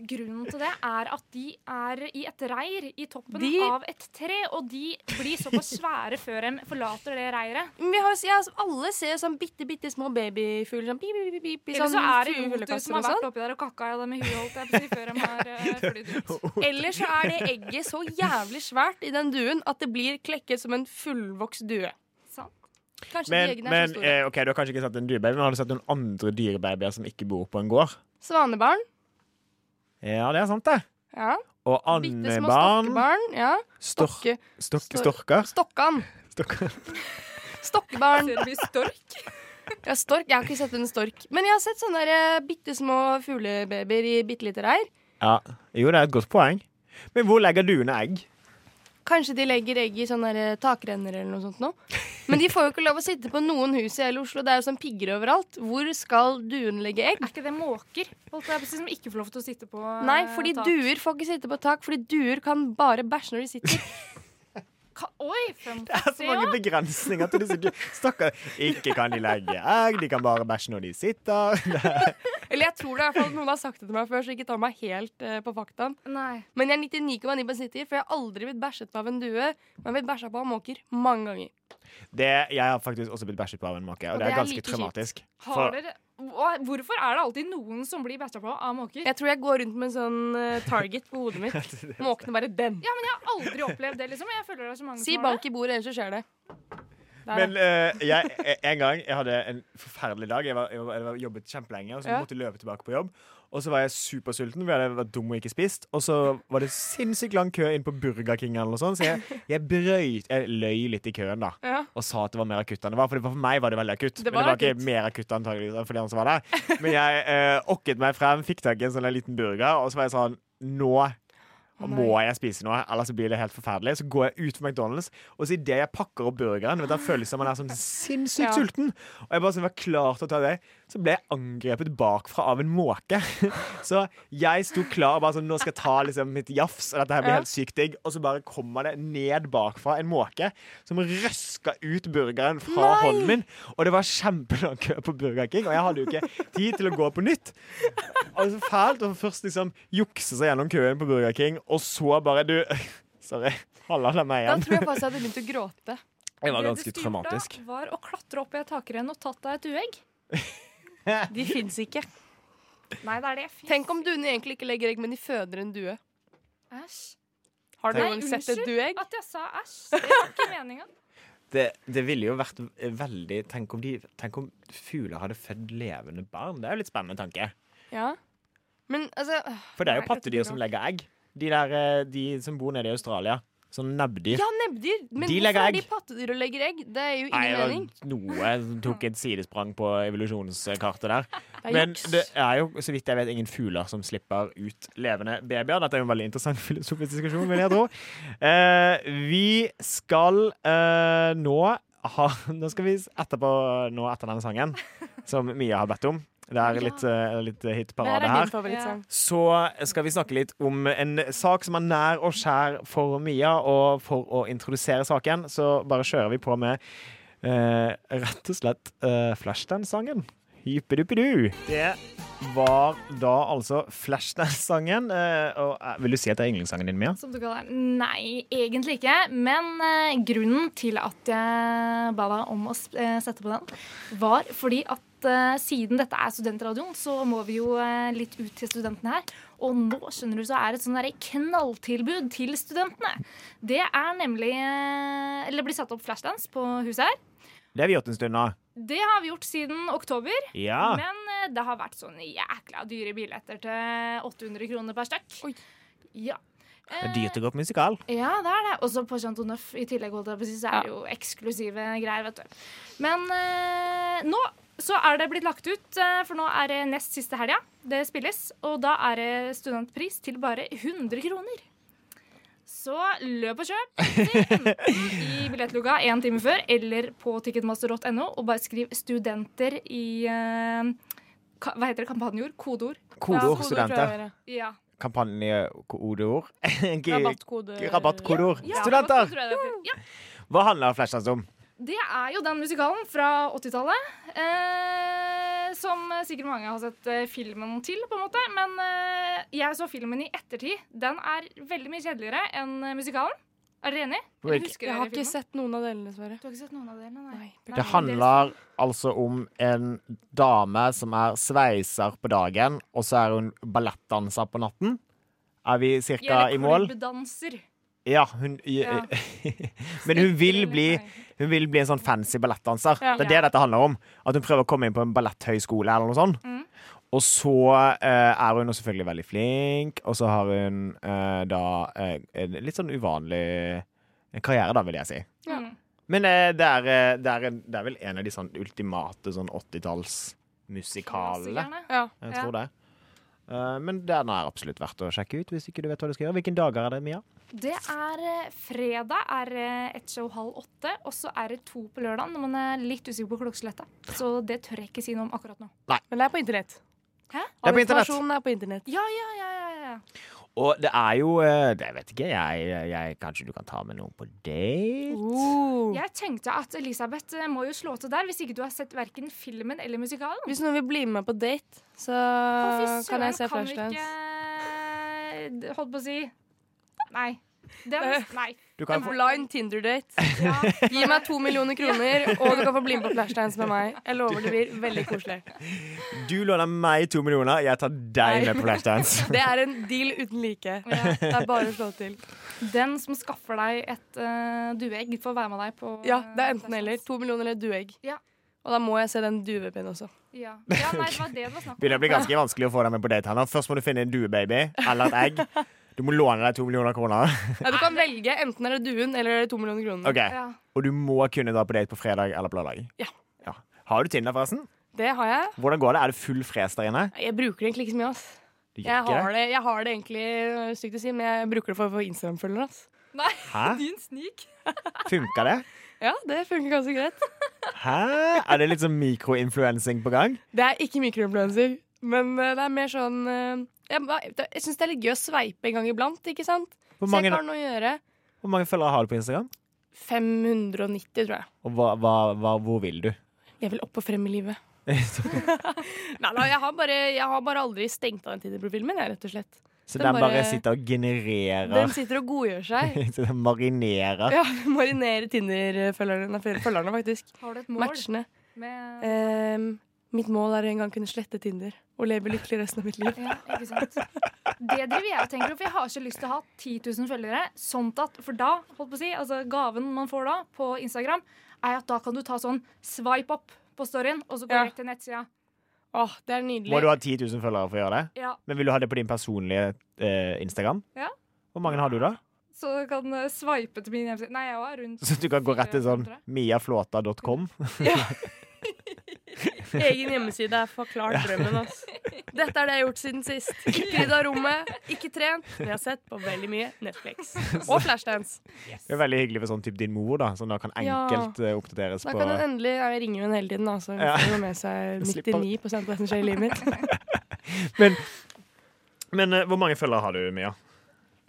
D: grunnen til det er at de er i et reir i toppen
A: De-
D: av et tre, og de blir såpass svære før de forlater det reiret.
A: Men vi har, jo- ja, altså, alle ser sånn bitte, bitte små babyfugler sånn pip, pip, pip, pip, i
D: Eller
A: sånn
D: så er det Jotu
A: fuglekasser
D: som
A: og
D: har vært
A: sånn.
D: oppi der og kakka i dem i huet, holdt jeg på å si, før de har eh, flydd ut.
A: Eller så er det egget så jævlig svært i den duen at det blir klekket som en fullvokst due.
D: Sant.
A: Kanskje de
C: Men,
A: eggene er så
C: men
A: store.
C: eh, ok, du har kanskje ikke sett en dyrebaby, men har du sett noen andre dyrebabyer som ikke bor på en gård?
A: Svanebarn.
C: Ja, det er sant, det.
A: Ja.
C: Og
A: Bitte små
C: andebarn,
A: stokkebarn. Ja.
C: stork,
A: Stokke.
C: stork,
A: stor-
C: storker
A: Stokkan.
C: Storker.
A: Stokkebarn.
D: Ser vi stork?
A: Ja, stork. Jeg har ikke sett en stork. Men jeg har sett sånne der, eh, bitte små fuglebabyer i bitte lite reir.
C: Ja. Jo, det er et godt poeng. Men hvor legger duene egg?
A: Kanskje de legger egg i sånne der, eh, takrenner eller noe sånt nå. Men de får jo ikke lov å sitte på noen hus i hele Oslo. Det er jo sånn pigger overalt. Hvor skal duene legge egg?
D: Er ikke det måker? Holdt jeg på å si, som ikke får lov til å sitte på eh,
A: Nei, fordi
D: tak?
A: duer får ikke sitte på tak, fordi duer kan bare bæsje når de sitter.
D: Ka Oi, fun
C: Det er
D: fact.
C: så mange
D: Ja.
C: begrensninger til disse du- Stakkar. Ikke kan de legge egg, de kan bare bæsje når de sitter.
A: Eller Eller jeg tror det, i hvert fall noen har sagt det til meg før, så ikke ta meg helt eh, på faktaen.
D: Nei.
A: Men jeg er 99,9 sikker, for jeg har aldri blitt bæsjet på av en due. Men jeg har blitt bæsja på av måker mange ganger.
C: Det, jeg har faktisk også blitt bæsjet på av en måke, og,
A: Og det
C: det er
A: er
C: ganske
A: like kjipt.
C: traumatisk.
D: Har dere Hva- Hvorfor er det alltid noen som blir bæsja på av måker?
A: Jeg tror jeg går rundt med en sånn eh, target på hodet mitt. Måkene bare den.
D: Ja, men jeg har aldri opplevd det, liksom. Jeg føler det er så mange
A: Si
D: som har det.
A: bank i bordet, ellers så skjer det. Der,
C: Men
A: ja.
C: eh, jeg, eh, en gang jeg hadde en forferdelig dag. Jeg, var, jeg, var, jeg var jobbet kjempelenge og så
A: Ja.
C: måtte jeg løpe tilbake på jobb. Og så var jeg supersulten, for jeg hadde vært dum og ikke spist. Og så var det sinnssykt lang kø inn på Burger King, eller noe sånt, så jeg, jeg brøyt Jeg løy litt i køen, da.
A: Ja.
C: Og sa at det var mer akutt enn det var. For det var- for meg var det veldig akutt.
A: Det
C: men det
A: var
C: var ikke
A: akutt.
C: mer akutt antageligvis for de andre som var der. Men jeg eh, okket meg frem, fikk tak i en sånn liten burger, og så var jeg sånn Nå
A: Å, nei.
C: må jeg spise noe, ellers så blir det helt forferdelig. Så går jeg ut på McDonald's, og så idet jeg pakker opp burgeren du vet, Da føles det som man er sånn
A: Ja.
C: sinnssykt sulten. Og jeg bare sånn var klar til å ta det. Så ble jeg angrepet bakfra av en måke. Så jeg sto klar og bare sånn Nå skal jeg ta liksom mitt jafs, og dette her blir
A: Ja.
C: helt sykt digg. Og så bare kommer det ned bakfra en måke som røska ut burgeren fra hånden min. Og det var kjempelang kø på Burger King, og jeg hadde jo ikke tid til å gå på nytt. Og så fælt å først liksom jukse seg gjennom køen på Burger King, og så bare Du, sorry. Halla, det er meg
A: Da
C: igjen.
A: tror jeg faktisk jeg hadde begynt å gråte.
C: Det var
D: Det
C: ganske
D: du styrte,
C: traumatisk.
D: var å klatre opp i et takrenn og tatt deg et uegg.
A: De fins ikke.
D: Nei, det er det. Fy
A: Tenk om duene egentlig ikke legger egg, men de føder en due.
D: æsj.
A: Har
D: Nei,
A: dere noen sett et
D: unnskyld.
A: dueegg?
D: At jeg sa æsj. Det var ikke meninga.
C: Det, det ville jo vært veldig tenk om, de, tenk om fugler hadde født levende barn. Det er jo litt spennende tanke.
A: Ja. Men altså øh,
C: For det er jo
A: Nei,
C: pattedyr
A: dette
C: som
A: går
C: legger egg. De, der, eh, de som bor nede i Australia. Sånn nebbdyr.
A: Ja, nebbdyr. Men
C: De
A: hvorfor
C: legger
A: er de
C: egg.
A: pattedyr og legger egg? Det er jo ingen
C: Nei, det var
A: mening.
C: noe som tok et sidesprang på evolusjonskartet der.
A: Det er
C: Men
A: juks.
C: det er jo, så vidt jeg vet, ingen fugler som slipper ut levende babyer. Dette er jo en veldig interessant filosofisk diskusjon, vil jeg tro. Eh, vi skal eh, nå ha Nå skal vi s- etterpå, nå etter denne sangen, som Mia har bedt om. Det er litt, eh, litt
A: Det her
C: hitparade
A: er
C: her.
A: din favorittsang.
C: Så skal vi snakke litt om en sak som er nær og skjær for Mia. Og for å introdusere saken, så bare kjører vi på med eh, rett og slett eh, Flashdance-sangen. Hypeduppedu. Det var da altså Flashdance-sangen. eh, og, eh, vil du si at det er yndlingssangen din, Mia?
D: Som du kaller den. Nei, egentlig ikke. Men eh, grunnen til at jeg ba deg om å sp- eh, sette på den, var fordi at eh, siden dette er studentradioen, så må vi jo eh, litt ut til studentene her. Og nå skjønner du, så er det et sånn derre knalltilbud til studentene. Det er nemlig eh, Eller det blir satt opp flashdance på huset her.
C: Det har vi gjort en stund nå.
D: Det har vi gjort siden oktober.
C: Ja.
D: Men eh, det har vært sånne jækla dyre billetter til 800 kroner per stykk.
A: Oi.
D: Ja.
C: Det er dyrt å gå på musikal.
D: Ja, det er det. Og så på Chateau Neuf i tillegg, holdt jeg på å si, så er det jo eksklusive greier, vet du. Men eh, nå så er det blitt lagt ut, eh, for nå er det nest siste helga det spilles. Og da er det studentpris til bare 100 kroner. Så løp og kjøp. Enten I billettluka én time før eller på ticketmaster.no, og bare skriv 'studenter' i eh, ka, Hva heter det? Kampanjeord? Kodeord?
C: Kodeord,
A: tror jeg
C: studenter.
A: var det.
D: Ja.
C: Kampanjekodeord.
A: Rabattkode.
C: Rabattkodeord.
D: ja
C: Studenter!
D: tror jeg det heter. Ja.
C: Hva handler Flashdance om?
D: Det er jo den musikalen fra 80-tallet. Eh, som sikkert mange har sett eh, filmen til, på en måte. Men eh, jeg så filmen i ettertid. Den er veldig mye kjedeligere enn eh, musikalen. Er dere enig? Eller
C: Ikke-
D: husker
A: Jeg
D: dere
A: har ikke
D: filmen?
A: sett noen av delene, dessverre.
D: Du har ikke sett noen av delene, nei.
A: Nei, beklager.
C: Det handler altså om en dame som er sveiser på dagen, og så er hun ballettdanser på natten. Er vi cirka i mål?
D: Danser.
C: Ja, hun
D: Ja.
C: Men hun vil, bli, hun vil bli en sånn fancy ballettdanser.
A: Ja.
C: Det er det dette handler om. At hun prøver å komme inn på en balletthøyskole eller noe sånt.
D: Mm.
C: Og så eh, er hun jo selvfølgelig veldig flink, og så har hun eh, da eh, en litt sånn uvanlig karriere, da, vil jeg si.
A: Ja.
D: Mm.
C: Men eh, det, er, eh, det, er, en- det er vel en av de sånn ultimate sånn 80-tallsmusikalene.
D: Klassikerne.
A: Ja.
C: Jeg
D: Ja.
C: tror det. Eh, men den er absolutt verdt å sjekke ut hvis ikke du vet hva du skal gjøre. Hvilken dager er det, Mia?
D: Det er eh, fredag er eh, ett show halv åtte, og så er det to på lørdag. Når man er litt usikker på klokkeslettet. Så det tør jeg ikke si noe om akkurat nå.
A: Men det er på internett.
C: Det
D: Hæ?
C: er på
A: All
C: internett.
A: informasjonen er på internett.
D: Ja, ja, ja, ja, ja.
C: Og det er jo eh, det- Jeg vet ikke. Jeg, jeg, kanskje du kan ta med noen på date?
A: Oh.
D: Jeg tenkte at Elisabeth eh, må jo slå til der, hvis ikke du har sett verken filmen eller musikalen.
A: Hvis noen vil bli med meg på date, så
D: Å, fy søren,
A: Ah, kan jeg se
D: kan vi
A: Flashdance.
D: ikke- d- Holdt på å si Nei. Den, nei.
C: Du kan få
A: Blind Tinder-date.
D: Ja.
A: Gi meg to millioner kroner, og du kan få bli med på Flashdance med meg. Jeg lover det blir veldig koselig.
C: Du låner meg to millioner, jeg tar deg med på flashdance.
A: Det er en deal uten like.
D: Ja.
A: Det er bare å slå til.
D: Den som skaffer deg et eh, dueegg, får være med deg på
A: Ja, det
D: eh,
A: er enten eller. To millioner eller dueegg.
D: Ja.
A: Og da må jeg se den duepinnen også.
D: Ja. ja, nei, det var det det var snakk om.
C: Begynner å bli ganske vanskelig å få deg med på date. Hanna. Først må du finne en duebaby eller et egg. Du må låne deg to millioner kroner.
A: Ja, du kan velge enten er det duen eller er det to millioner kroner.
C: Ok,
D: Ja.
C: Og du må kunne dra på date på fredag eller lørdag.
A: Ja.
C: Ja. Har du Tinder, forresten?
A: Det har jeg.
C: Hvordan går det? Er det full fres der inne?
A: Jeg bruker det egentlig ikke så mye. ass.
C: Du gjør
A: Jeg
C: ikke
A: har det, jeg har det egentlig øh, stygt å si, men jeg bruker det for å få Instagram-følgere. altså. ass.
D: Nei,
C: Hæ?
D: din snik.
C: Funka det?
A: Ja, det funker ganske greit.
C: Hæ? Er det litt sånn mikroinfluensing på gang?
A: Det er ikke mikroinfluenser, men øh, det er mer sånn øh, Jeg, ba- jeg syns det er litt gøy å sveipe en gang iblant, ikke sant? Så
C: Hvor
A: jeg
C: mange,
A: ikke har noe å gjøre.
C: hvor mange følgere har du på Instagram?
A: 590, tror jeg.
C: Og hva, hva, hva, hvor vil du?
A: Jeg vil opp og frem i livet. Nei da, jeg har bare, jeg har bare aldri stengt av den Tinder-profilen min, jeg, rett og slett.
C: Så
A: Den
C: den bare
A: bare-
C: sitter og
A: Den
C: genererer.
A: sitter og godgjør seg.
C: Så den marinerer.
A: Ja, marinere Tinder-følgerne, nei, følgerne faktisk.
D: Har du et mål
A: Matchene.
D: med
A: Ehm, mitt mål er å en gang kunne slette Tinder og leve lykkelig resten av mitt liv.
D: Ja, ikke sant? Det driver jeg og tenker på, for jeg har ikke lyst til å ha 10 000 følgere. Sånn at, for da, holdt på å si, altså gaven man får da på Instagram, er at da kan du ta sånn swipe opp på storyen, og så gå
A: Ja.
D: rett til nettsida.
A: Åh, det er
C: Må du
A: nydelig.
C: ha 10 000 følgere for å gjøre det?
D: Ja,
C: Men vil du ha det på din personlige eh, Instagram?
D: Ja.
C: Hvor mange har du da?
D: så du kan eh, swipe til min hjemmeside. Nei, jeg var rundt
C: Så du kan gå rett til sånn
D: 400.
C: miaflåta.com.
A: Egen hjemmeside er forklart drømmen, altså. Dette er det jeg har gjort siden sist. Ikke rydda rommet, ikke trent, men jeg har sett på veldig mye Netflix. Og Flashdance.
C: Det er veldig hyggelig for sånn typ din mor, da, som da kan
A: Ja.
C: enkelt eh, oppdateres
A: Da
C: på
A: kan hun endelig ja, Jeg ringer jo henne hele tiden, altså. Hun
C: Ja.
A: får jo med seg
C: Slipper-
A: 99 av det som skjer i livet mitt.
C: Men, men eh, hvor mange følgere har du, Mia?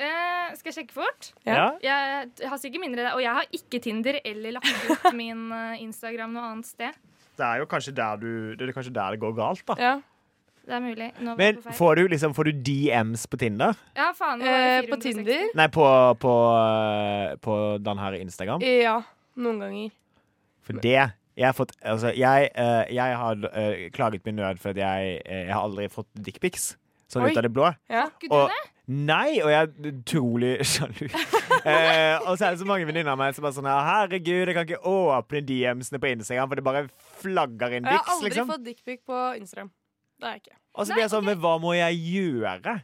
D: Eh, Skal jeg sjekke fort?
A: Ja.
D: Jeg, jeg har sikkert mindre, og jeg har ikke Tinder eller lagt ut min eh, Instagram noe annet sted.
C: Det er jo kanskje der, du, det er kanskje der det går galt, da.
A: Ja.
D: Det er mulig. Nå var
C: Men
D: jeg på feil.
C: får du, liksom, får du DMs på Tinder?
D: ja, faen, nå var
A: Eh,
D: det
A: på
D: 460.
A: Tinder?
C: Nei, på, på, eh, på den her Instagram?
A: Ja. Noen ganger.
C: For det jeg har fått, altså, jeg, eh, jeg har eh, klaget min nød for at jeg, eh, jeg har aldri fått dickpics. Sånn
A: Oi.
C: ut av det blå.
A: Ja.
D: Ikke du
C: Og-
D: det?
C: Nei, og jeg er utrolig sjalu. eh, og så er det så mange venninner av meg som bare sånn her, Herregud, jeg kan ikke åpne DMs-ene på Instagram, for det bare flagger inn
A: Jeg har
C: diks.
A: aldri
C: Liksom.
A: fått dickpic på Instagram. Det har jeg ikke.
C: Og så blir jeg sånn, men hva må jeg gjøre?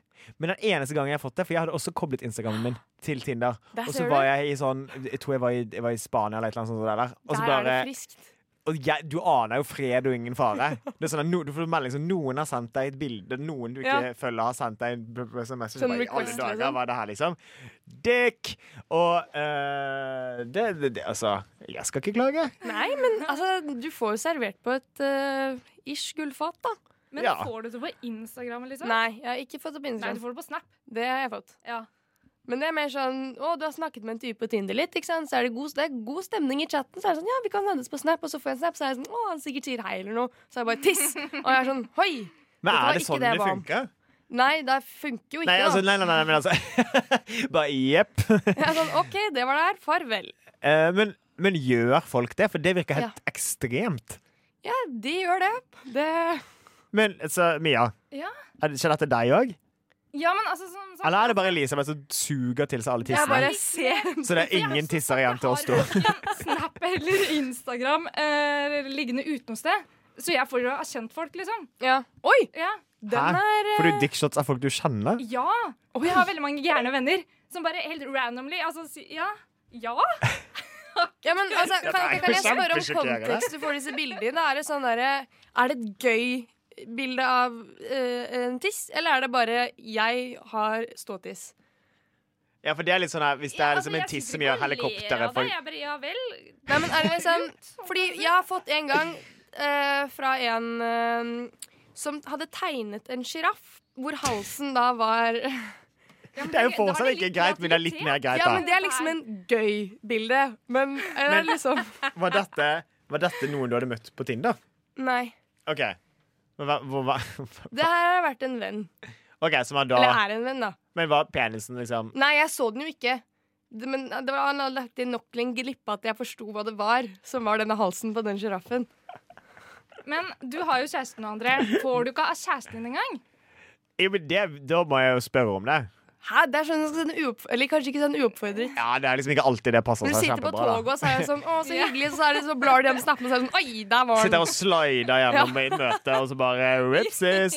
C: Men den eneste gangen jeg har fått det, for jeg hadde også koblet Instagrammen min til Tinder.
A: Der
C: Og
A: ser
C: så
A: du.
C: var jeg i sånn Jeg tror jeg var i, jeg var i Spania eller et eller annet sånt. Der, og så
A: Der er
C: bare,
A: det friskt.
C: og jeg, du aner jo fred og ingen fare. Det er sånn at no, du får melding som noen har sendt deg et bilde, noen du ikke
A: Ja.
C: følger, har sendt deg en b- b- SMS.
A: Sånn
C: Som bare, i alle
A: request,
C: dager,
A: liksom.
C: hva er det her, liksom? Dick! Og eh, det, det, det Altså, jeg skal ikke klage.
A: Nei, men altså, du får jo servert på et eh, ish gullfat, da.
D: Men
C: Ja.
D: får du det på Instagram? liksom?
A: Nei, jeg har ikke fått det på
D: Nei,
A: Instagram.
D: du får det på Snap.
A: Det har jeg fått.
D: Ja.
A: Men det er mer sånn Å, du har snakket med en type på Tinder litt, ikke sant. Så er det god, det er god stemning i chatten. Så er det sånn Ja, vi kan hendes på Snap. Og så får jeg en Snap, så er jeg sånn Å, han sikkert sier hei eller noe. Så er jeg bare tiss. Og jeg er sånn Hoi!
C: Men
A: Dette var
C: er det
A: ikke
C: sånn
A: det
C: det,
A: jeg ba om.
C: funker?
A: Nei, det funker jo ikke,
C: Nei, altså, nei, nei, nei, men altså Bare jepp.
A: da. Jeg er sånn OK, det var det her. Farvel.
C: Eh, men, men gjør folk det? For det virker helt
A: Ja.
C: ekstremt.
A: Ja, de gjør det. Det
C: Men altså, Mia.
D: Ja.
C: Er det, skjer dette deg òg?
D: Ja, men altså, som sagt
C: Eller er det bare Elisabeth som suger til seg alle
A: Jeg
C: tissene?
A: bare liksom. ser
C: Så det er ingen tisser igjen til oss to?
D: Jeg har verken Snap eller Instagram eh, liggende utenom sted. Så jeg får jo av kjentfolk, liksom.
A: Ja. Oi!
D: Ja.
A: Den
C: Hæ?
A: er eh,
C: Får du dickshots av folk du kjenner?
D: ja. Og jeg har veldig mange gærne venner som bare helt randomly altså, si, Ja. Ja.
A: Ja, men altså, kan,
C: er
A: kan,
C: jo
A: kan jeg spørre om
C: kjempesjokkerende.
A: kontekst du får disse bildene i? Da Er det sånn derre Er det et gøy bilde av eh, en tiss, eller er det bare 'jeg har ståtiss'?
C: Ja, for det er litt sånn her Hvis det
D: Ja,
C: er
D: altså,
C: liksom en
D: jeg
C: tiss
D: sitter
C: som
D: ikke
C: gjør
D: og ler
C: helikopteret
D: av det.
C: for
D: Jeg bare, ja vel.
A: Nei, men er det
D: sånn,
A: liksom Fordi jeg har fått en gang eh, fra en eh, som hadde tegnet en sjiraff, hvor halsen da var
D: men
C: Det er jo
D: da
C: fortsatt
D: det
C: ikke
D: litt
C: greit, men det er litt mer
D: kreativitet.
C: greit,
A: Ja, men
C: da.
A: det er liksom en gøy bilde. Men, eh,
C: Men-
A: liksom
C: Var dette, var dette noen du hadde møtt på Tinder?
A: Nei.
C: OK. Men hva, hvor, hva,
A: Det her har vært en venn.
C: OK, som var da
A: Eller er en venn, da.
C: Men var penisen liksom
A: Nei, jeg så den jo ikke. Det- Men det var, han hadde lagt inn nok til en glippe at jeg forsto hva det var, som var denne halsen på den sjiraffen.
D: Men du har jo kjæresten, André. Får du ikke av kjæresten din engang?
C: Jo, men det, Da må jeg jo spørre om det.
A: Hæ, det er sånn, sånn uopp, Eller kanskje ikke sånn uoppfordret.
C: Ja, Det er liksom ikke alltid det passer
A: Når du
C: seg
A: sitter på
C: kjempebra.
A: toget,
C: da.
A: og så er det sånn 'Å, så hyggelig', så, er det, så blar du gjennom snappen, og så er det sånn 'Oi, der var
C: Sitter
A: den'.
C: og slider gjennom i møtet, og så bare Ripsis!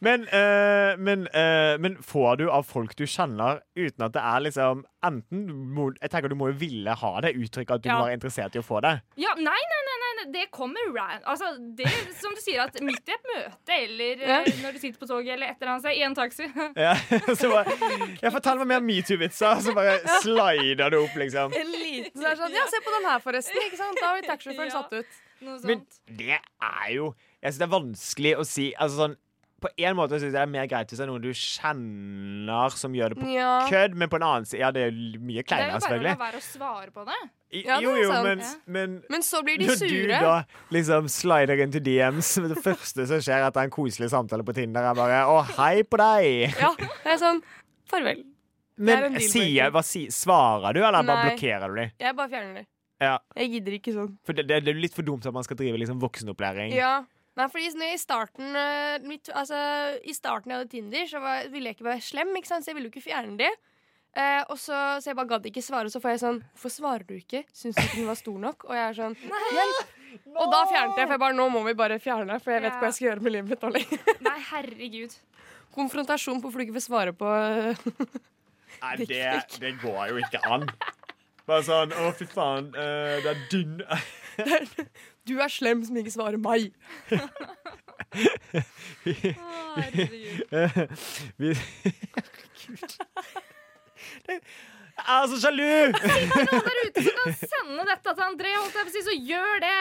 C: Men, eh, men, eh, men får du av folk du kjenner, uten at det er liksom Enten må, Jeg tenker du må jo ville ha det uttrykket at du
A: Ja.
C: må være interessert i å få det.
D: Ja, nei, nei, nei, nei, nei. det kommer ran... Altså, det som du sier, at midt i et møte, eller
A: Ja.
D: eh, når du sitter på toget, eller et eller annet sted, i en taxi
C: Ja, så bare, jeg fortell meg mer metoo-vitser, så bare slider du opp, liksom.
A: En liten så er det sånn 'Ja, se på den her, forresten'. ikke sant? Da har vi taxisjåføren
D: Ja.
A: satt ut.
D: Noe sånt.
C: Men det er jo Jeg syns det er vanskelig å si altså sånn, På en måte syns jeg det er mer greit hvis det er noen du kjenner som gjør det på
A: Ja.
C: kødd, men på en annen side Ja, det er jo mye
D: det er
C: kleinere,
D: jo bare å la
C: selvfølgelig.
D: være å svare på det.
C: I-
A: Ja, det
C: Jo,
A: er
C: jo,
A: sant.
C: men,
D: Ja.
C: men
A: Men så blir de
C: når du
A: sure.
C: da liksom slider inn til DMs, det første som skjer etter en koselig samtale på Tinder, er bare Å, hei på deg!
A: Ja, det er sånn Farvel. er en
C: Men
A: deal
C: sier,
A: breaker.
C: hva sier Svarer du, eller bare
A: Nei.
C: blokkerer du dem?
A: Jeg bare fjerner det.
C: Ja.
A: Jeg gidder ikke sånn.
C: For det, det er litt for dumt at man skal drive liksom voksenopplæring.
A: Ja. Nei, fordi sånn i starten eh, mitt, Altså, i starten jeg hadde Tinder, så var, ville jeg ikke være slem, ikke sant? så jeg ville jo ikke fjerne de. Eh, og så, så jeg bare gadd ikke svare, og så får jeg sånn Hvorfor svarer du ikke? Syns du ikke den var stor nok? Og jeg er sånn Hjelp! Og da fjernet jeg, for jeg bare Nå må vi bare fjerne det, for jeg vet ikke hva jeg skal gjøre med livet mitt nå lenger.
D: Nei, herregud.
A: Konfrontasjon på fluke for å svare på eh,
C: Nei, det, det går jo ikke an. Bare sånn Å, fy faen, eh, det er dynn
A: Du er slem som ikke svarer meg.
D: Å, herregud.
C: Vi Gud. Det- Jeg er så sjalu!
D: Sende dette til André, holdt jeg på å si, så gjør det!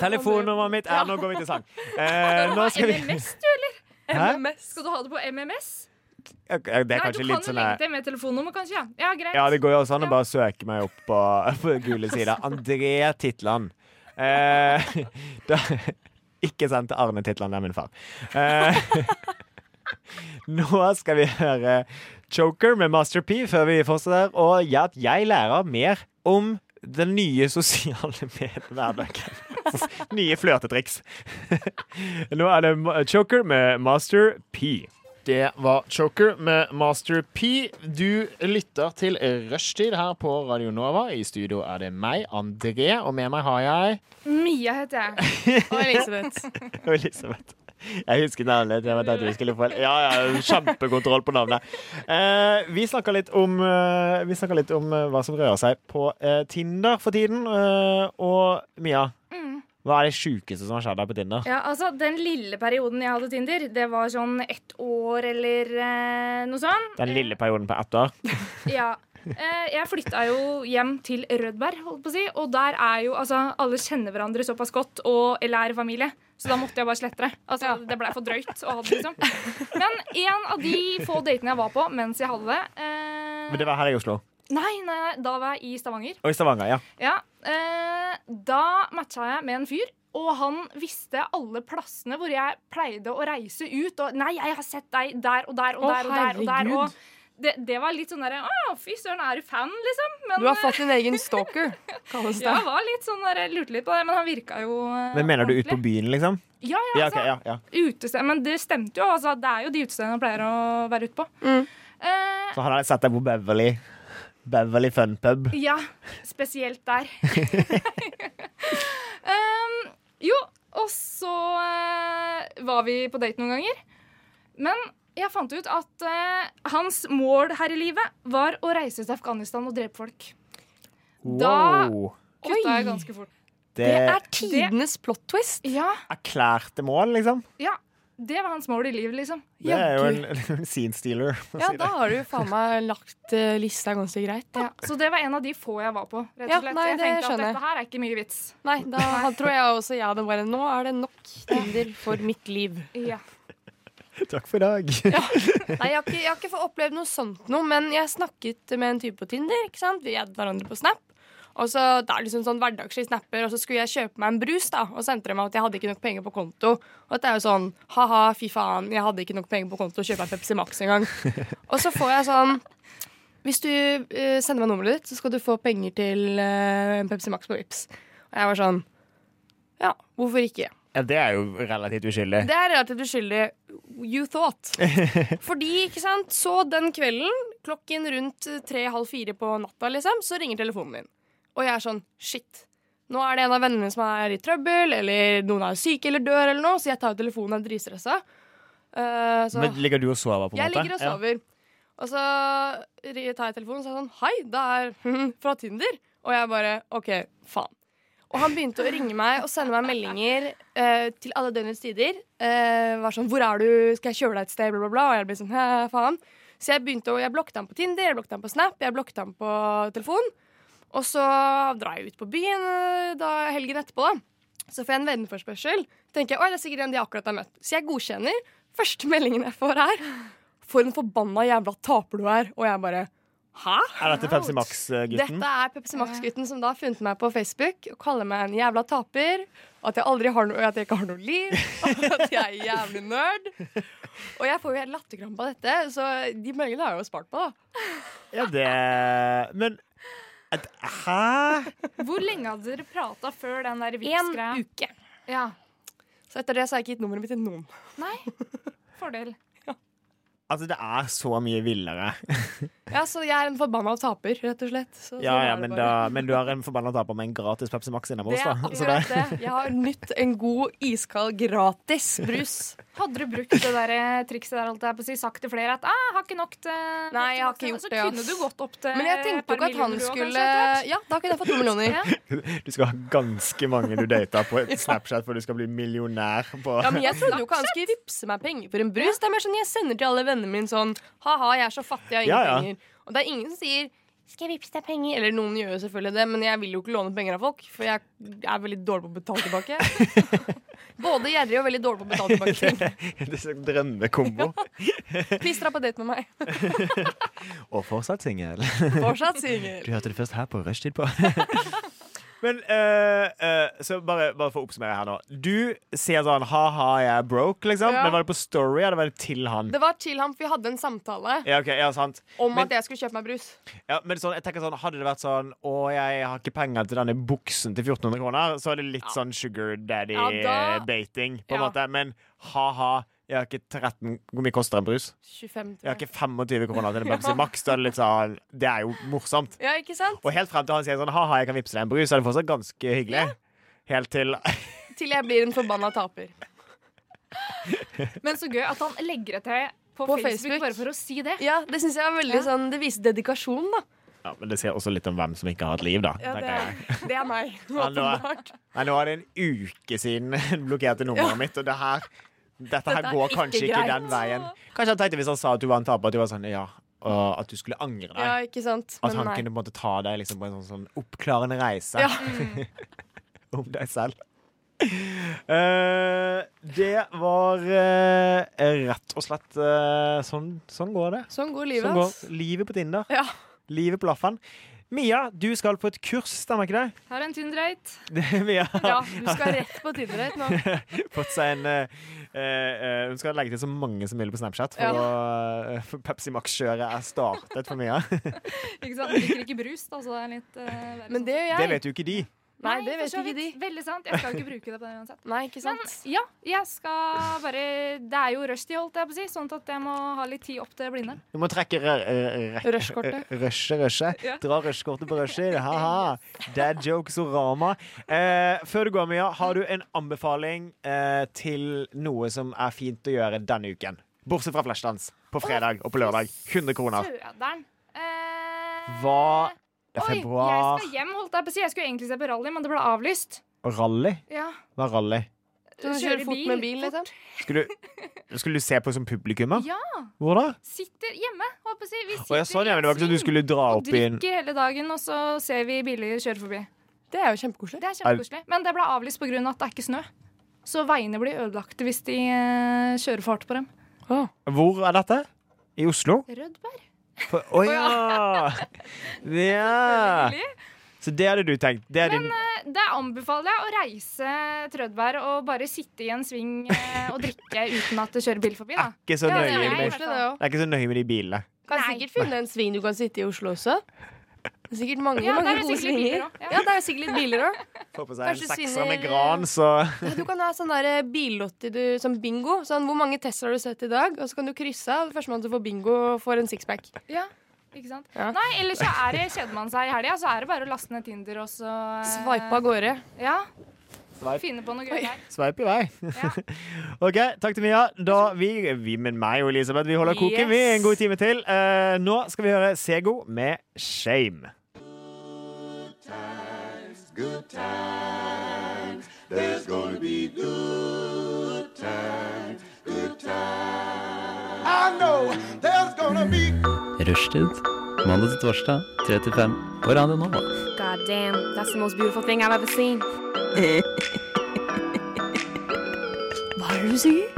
C: Telefonnummeret mitt er Nå går vi til sang. Eh, nå skal vi
D: MMS, du, eller?
C: Hæ?
D: Skal du ha det på MMS?
C: Ok, Det er
D: Nei, du
C: kanskje
D: kan
C: litt
D: jo
C: sånn
D: legge
C: her-
D: det med telefonnummer, kanskje. Ja, ja greit.
C: Ja, det går jo også an å bare søke meg opp på, på gule sider. André Titland. Eh, da, ikke send til Arne Titland, det er min far. Eh, nå skal vi høre Joker med Master P før vi fortsetter, og ja, at jeg lærer mer om den nye sosiale mediehverdagen. nye flørtetriks. nå er det Ma- Joker med Master P.
G: Det var Choker med Master P. Du lytter til Rushtid her på Radio Nova. I studio er det meg, André, og med meg har jeg
D: Mia heter jeg.
A: Og Elisabeth.
C: Og Elisabeth. Jeg husker navnet. Jeg vet at vi skulle få en ja, ja, Kjempekontroll på navnet. Eh, vi snakker litt om, eh, vi snakker litt om eh, hva som rører seg på eh, Tinder for tiden. Eh, og Mia,
D: Mm.
C: hva er det sjukeste som har skjedd deg på Tinder?
D: Ja, altså, Den lille perioden jeg hadde Tinder, det var sånn ett år eller eh, noe sånt.
C: Den lille perioden på ett år.
D: Ja. Eh, jeg flytta jo hjem til Rødberg, holdt på å si, og der er jo altså Alle kjenner hverandre såpass godt og eller er familie, så da måtte jeg bare slette det. Altså, Det blei for drøyt å ha det, liksom. Men en av de få datene jeg var på mens jeg hadde det eh,
C: Men det var her i Oslo.
D: Nei, nei, nei, da var jeg i Stavanger.
C: Og i Stavanger, ja.
D: Ja, eh, Da matcha jeg med en fyr, og han visste alle plassene hvor jeg pleide å reise ut. Og nei, jeg har sett deg der og der og
A: Å,
D: der og der. og der
A: herregud.
D: og det, det var litt sånn derre Å, fy søren, er du fan, liksom? Men
A: Du har fått din egen stalker, kalles
D: eh,
A: det.
D: ja, var litt sånn der, jeg lurte litt på det, men han virka jo eh,
C: Men mener du ut på
D: ordentlig.
C: byen, liksom?
D: Ja, ja,
C: Ja,
D: altså,
C: ok, ja, ja.
D: utested, Men det stemte jo. altså, Det er jo de utestedene han pleier å være ute på.
A: Mm.
D: Eh,
C: Så han hadde sett deg på Beverly. Beverly Fun Pub.
D: Ja, spesielt der. um, jo, og så eh, var vi på date noen ganger. Men jeg fant ut at eh, hans mål her i livet var å reise til Afghanistan og drepe folk. Da-
C: Wow.
D: Kutta jeg
A: Oi.
D: ganske fort.
C: Det
A: Det
C: er
A: er tidenes plot twist.
D: Ja,
C: erklærte mål, liksom.
D: ja. Det var hans mål i livet, liksom.
C: Det er jo en, en scene stealer. å
A: Ja,
C: si det.
A: da har du jo faen meg lagt eh, lista ganske greit.
D: Ja, så det var en av de få jeg var på. rett
A: Ja,
D: og slett.
A: nei,
D: jeg
A: det
D: tenkte at
A: skjønner jeg.
D: dette her er ikke mye vits.
A: Nei, da tror jeg også jeg hadde bare Nå er det nok Tinder for mitt liv.
D: Ja.
C: Takk for i dag.
A: Nei, jeg har ikke, jeg har ikke fått opplevd noe sånt noe, men jeg snakket med en type på Tinder. ikke sant? Vi addet hverandre på Snap. Og så det er liksom sånn hverdagslige snapper, og så skulle jeg kjøpe meg en brus, da, og så endte det meg at jeg hadde ikke nok penger på konto. Og dette er jo sånn ha-ha, fy faen, jeg hadde ikke nok penger på konto, kjøpe meg Pepsi Max engang. Og så får jeg sånn Hvis du eh, sender meg nummeret ditt, så skal du få penger til eh, en Pepsi Max på Vipps. Og jeg var sånn Ja, hvorfor ikke?
C: Ja, det er jo relativt uskyldig.
A: Det er relativt uskyldig. You thought. Fordi, ikke sant, så den kvelden, klokken rundt tre-halv fire på natta, liksom, så ringer telefonen min. Og jeg er sånn, shit. Nå er det en av vennene mine som er i trøbbel, eller noen er syke eller dør, eller noe, så jeg tar jo telefonen og er dritstressa. Eh, så-
C: Men ligger du og sover, på en
A: jeg
C: måte?
A: ligger og sover. Og så ri- tar jeg telefonen og så er jeg sånn Hei, det er fra Tinder. Og jeg bare OK, faen. Og han begynte å ringe meg og sende meg meldinger eh, til alle døgnets tider. Eh, var sånn 'Hvor er du? Skal jeg kjøre deg et sted?' bla, bla, bla. Og jeg ble sånn Hæ, faen. Så jeg begynte å Jeg blokket han på Tinder, jeg blokket han på Snap, jeg blokket han på telefon. Og så drar jeg ut på byen eh, da, helgen etterpå, da. Så får jeg en venneforspørsel. Tenker jeg, oi, det er sikkert en de akkurat har møtt. Så jeg godkjenner. Første meldingen jeg får, er for en forbanna jævla taper du er. Og jeg bare Hæ?
C: Er dette Pepsi Max-gutten?
A: Dette er Pepsi Max-gutten som da har funnet meg på Facebook og kaller meg en jævla taper. og At jeg aldri har noe, at jeg ikke har noe liv. og At jeg er jævlig nerd. Og jeg får jo helt latterkrampe av dette, så de meldingene har jeg jo spart på. da
C: Ja, det Men at- Hæ?
D: Hvor lenge hadde dere prata før den der
A: En
D: Vipps-greia?
A: uke.
D: Ja.
A: Så etter det så har jeg ikke gitt nummeret mitt til noen.
D: Nei. Fordel.
C: Altså, det er så mye villere.
A: Ja, Så jeg er en forbanna taper, rett og slett. Så,
C: Ja,
A: sånn
C: ja,
A: er det
C: men,
A: bare.
C: da, men du har en forbanna taper med en gratis Pepsi Max innabords,
A: Det
C: da.
A: er
C: Så det,
A: akkurat det. Jeg har nytt en god iskald gratis brus.
D: Hadde du brukt det der eh, trikset der, holdt jeg på å si, sagt til flere at ah, 'jeg har ikke nok til
A: Nei, jeg har
D: til
A: ikke
D: Maxen»,
A: gjort det,
D: Så
A: ass.
D: kunne du gått opp til
A: Men jeg
D: et
A: tenkte
D: par
A: jo ikke at han
D: millioner,
A: skulle
D: kanskje, etter hvert.
A: Ja, da kunne jeg fått to millioner.
D: Ja.
C: du skal ha ganske mange du dater på et Snapchat for du skal bli millionær på
A: Ja, men Jeg trodde jo ikke han skulle vippse meg penger for en brus. Det er mer sånn Jeg sender til alle vennene mine sånn Ha-ha, jeg er så fattig, jeg har ingen
C: Ja, ja.
A: penger. Og det er ingen som sier skal jeg vippse deg penger? Eller noen gjør jo selvfølgelig det, men jeg vil jo ikke låne penger av folk. For jeg er veldig dårlig på å betale tilbake. Både gjerrig og veldig dårlig på å betale tilbake ting.
C: Det er
A: sånn
C: en drømmekombo.
A: Please dra på date med meg.
C: Og fortsatt singel.
A: Fortsatt singel.
C: Du hørte det først her på Rushtid på. Men eh, eh, så bare, bare for å oppsummere her nå. Du sier sånn ha-ha, jeg er broke, liksom.
A: Ja.
C: Men var det på Story, eller var det til han?
A: Det var til ham, for vi hadde en samtale
C: Ja, ok, ja, sant.
A: om
C: Men-
A: at jeg skulle kjøpe meg brus.
C: Ja, men sånn, jeg tenker sånn, Hadde det vært sånn Å, jeg har ikke penger til denne buksen til 1400 kroner, så er det litt sånn sugar
A: Ja, da-
C: daddy-baiting, på en
A: Ja.
C: måte. Men ha-ha, jeg har ikke 13 Hvor mye koster en brus?
A: 25
C: Jeg har
A: tror jeg.
C: ikke 25 kroner til en Pepsi Max. Da er det litt sånn Det er jo morsomt.
A: Ja, ikke sant?
C: Og helt frem til han sier sånn ha-ha, jeg kan vippse deg en brus, så er det fortsatt ganske hyggelig. Helt til
A: Til jeg blir en forbanna taper.
D: Men så gøy at han legger det til på,
A: På
D: Facebook,
A: Facebook.
D: bare for å si det.
A: Ja, det synes jeg var veldig sånn Det viser dedikasjon, da.
C: Ja, Men det sier også litt om hvem som ikke har et liv, da.
A: Ja, det,
C: tenker jeg.
A: er, det er meg,
C: Ja, nå er-
A: åpenbart.
C: Nei, nå er det en uke siden hun blokkerte nummeret mitt, og det her, dette her
A: Dette er
C: går
A: ikke
C: kanskje ikke
A: greit.
C: den veien. Kanskje han tenkte hvis han sa at du var en taper, at du var sånn ja, og at du skulle angre deg.
A: Ja, ikke sant?
C: at
A: Men
C: han
A: nei.
C: kunne på en måte ta deg liksom, på en sånn, sånn oppklarende reise
A: Ja.
C: om deg selv. Eh, det var eh, rett og slett eh, sånn, sånn går det.
A: Sånn går
C: Sånn
A: livet,
C: går
A: ass.
C: livet på Tinder.
A: Ja.
C: Livet på Laffen. Mia, du skal på et kurs, stemmer ikke det?
D: Her er en tynn dreit.
C: det Mia har
A: Ja, du skal rett på Tinder-date nå.
C: fått seg en eh, eh, Hun skal legge til så mange som mulig på Snapchat,
A: Ja.
C: for, å, eh, for Pepsi Max-kjøret er startet for Mia.
D: Ikke sant? Jeg Drikker ikke brus, da, så det er litt eh, verre
A: Men
D: sånn.
A: det gjør jeg.
C: Det vet jo ikke de.
A: Nei, det
D: for
A: vet
D: så
A: ikke de.
D: vidt. Veldig sant. Jeg skal ikke bruke det på det uansett.
A: Nei, ikke
D: Men
A: sant?
D: ja, jeg skal bare Det er jo rushtid, holdt jeg på å si, sånn at jeg må ha litt tid opp til Blindern.
C: Du må trekke rø- eh, rek-
A: Rushkortet.
C: eh, Rushe, rushe.
D: Ja.
C: Dra rushkortet på rushet. Ha-ha. Dad jokes og rama. Eh, før du går, Mia, har du en anbefaling eh, til noe som er fint å gjøre denne uken? Bortsett fra flashdans på fredag og på lørdag. 100 kroner.
D: Søderen. Eh,
C: Hva Det er
D: Oi, jeg
C: februar.
D: skal hjem, holdt jeg på å si. Jeg skulle egentlig se på rally, men det ble avlyst.
C: Rally?
D: Ja.
C: Hva er rally?
A: Så du kjører fort med bil, liksom?
C: Skulle du, skulle du se på som publikummer?
D: Ja.
C: Hvor da?
D: Sitter hjemme, holdt jeg på å si. Vi sitter
C: Å, jeg sa det, men det var ikke sånn at du skulle dra
D: og
C: opp i en
D: drikker hele dagen, og så ser vi biler kjøre forbi.
A: Det er jo kjempekoselig.
D: Det er kjempekoselig. Men det ble avlyst pga. Av at det er ikke snø. Så veiene blir ødelagte hvis de eh, kjører for hardt på dem.
A: Å.
C: Hvor er dette? I Oslo?
D: Rødbær.
C: For- Å ja. ja!
D: Hyggelig.
C: Så det hadde du tenkt. Det er din
D: Eh, Da anbefaler jeg å reise til Rødberg og bare sitte i en sving eh, og drikke uten at det kjører bil forbi. da.
C: ikke så
A: Ja, det
C: nøye
A: er jo
C: med de-
D: Nei.
A: koselig, det òg.
C: det er ikke så nøye med de bilene.
A: Kan
D: Nei.
A: sikkert finne en sving du kan sitte i i Oslo også. Det er sikkert mange,
D: Ja, der er
A: mange gode
D: sikkert litt
A: svinger.
D: biler også. Ja.
A: Ja, det er sikkert litt biler òg.
C: Få på seg en
A: Kanskje
C: sekser med
A: svinner-
C: gran, så
A: Du kan ha sånn der billotti du, som bingo. Sånn, hvor mange Tesla har du sett i dag? Og så kan du krysse av. Førstemann som får bingo, får en sixpack.
D: Ja, ikke sant?
A: Ja.
D: Nei, ellers så er det, kjeder man seg i helga, så er det bare å laste ned Tinder og så eh,
A: Sveipe av gårde.
D: Ja.
C: Swipe.
D: Finne på noe gøy der.
C: sveip i vei.
D: Ja.
C: OK, takk til Mia. Da vi, vi med meg og Elisabeth, vi holder koken, vi,
A: Yes.
C: en god time til. Eh, nå skal vi høre Sego med Shame.
H: Rushtid. Mandag til torsdag, 3 til 5 på Radio Nova.
D: God damn, that's the most beautiful thing I've ever seen.
A: Hva er det du sier?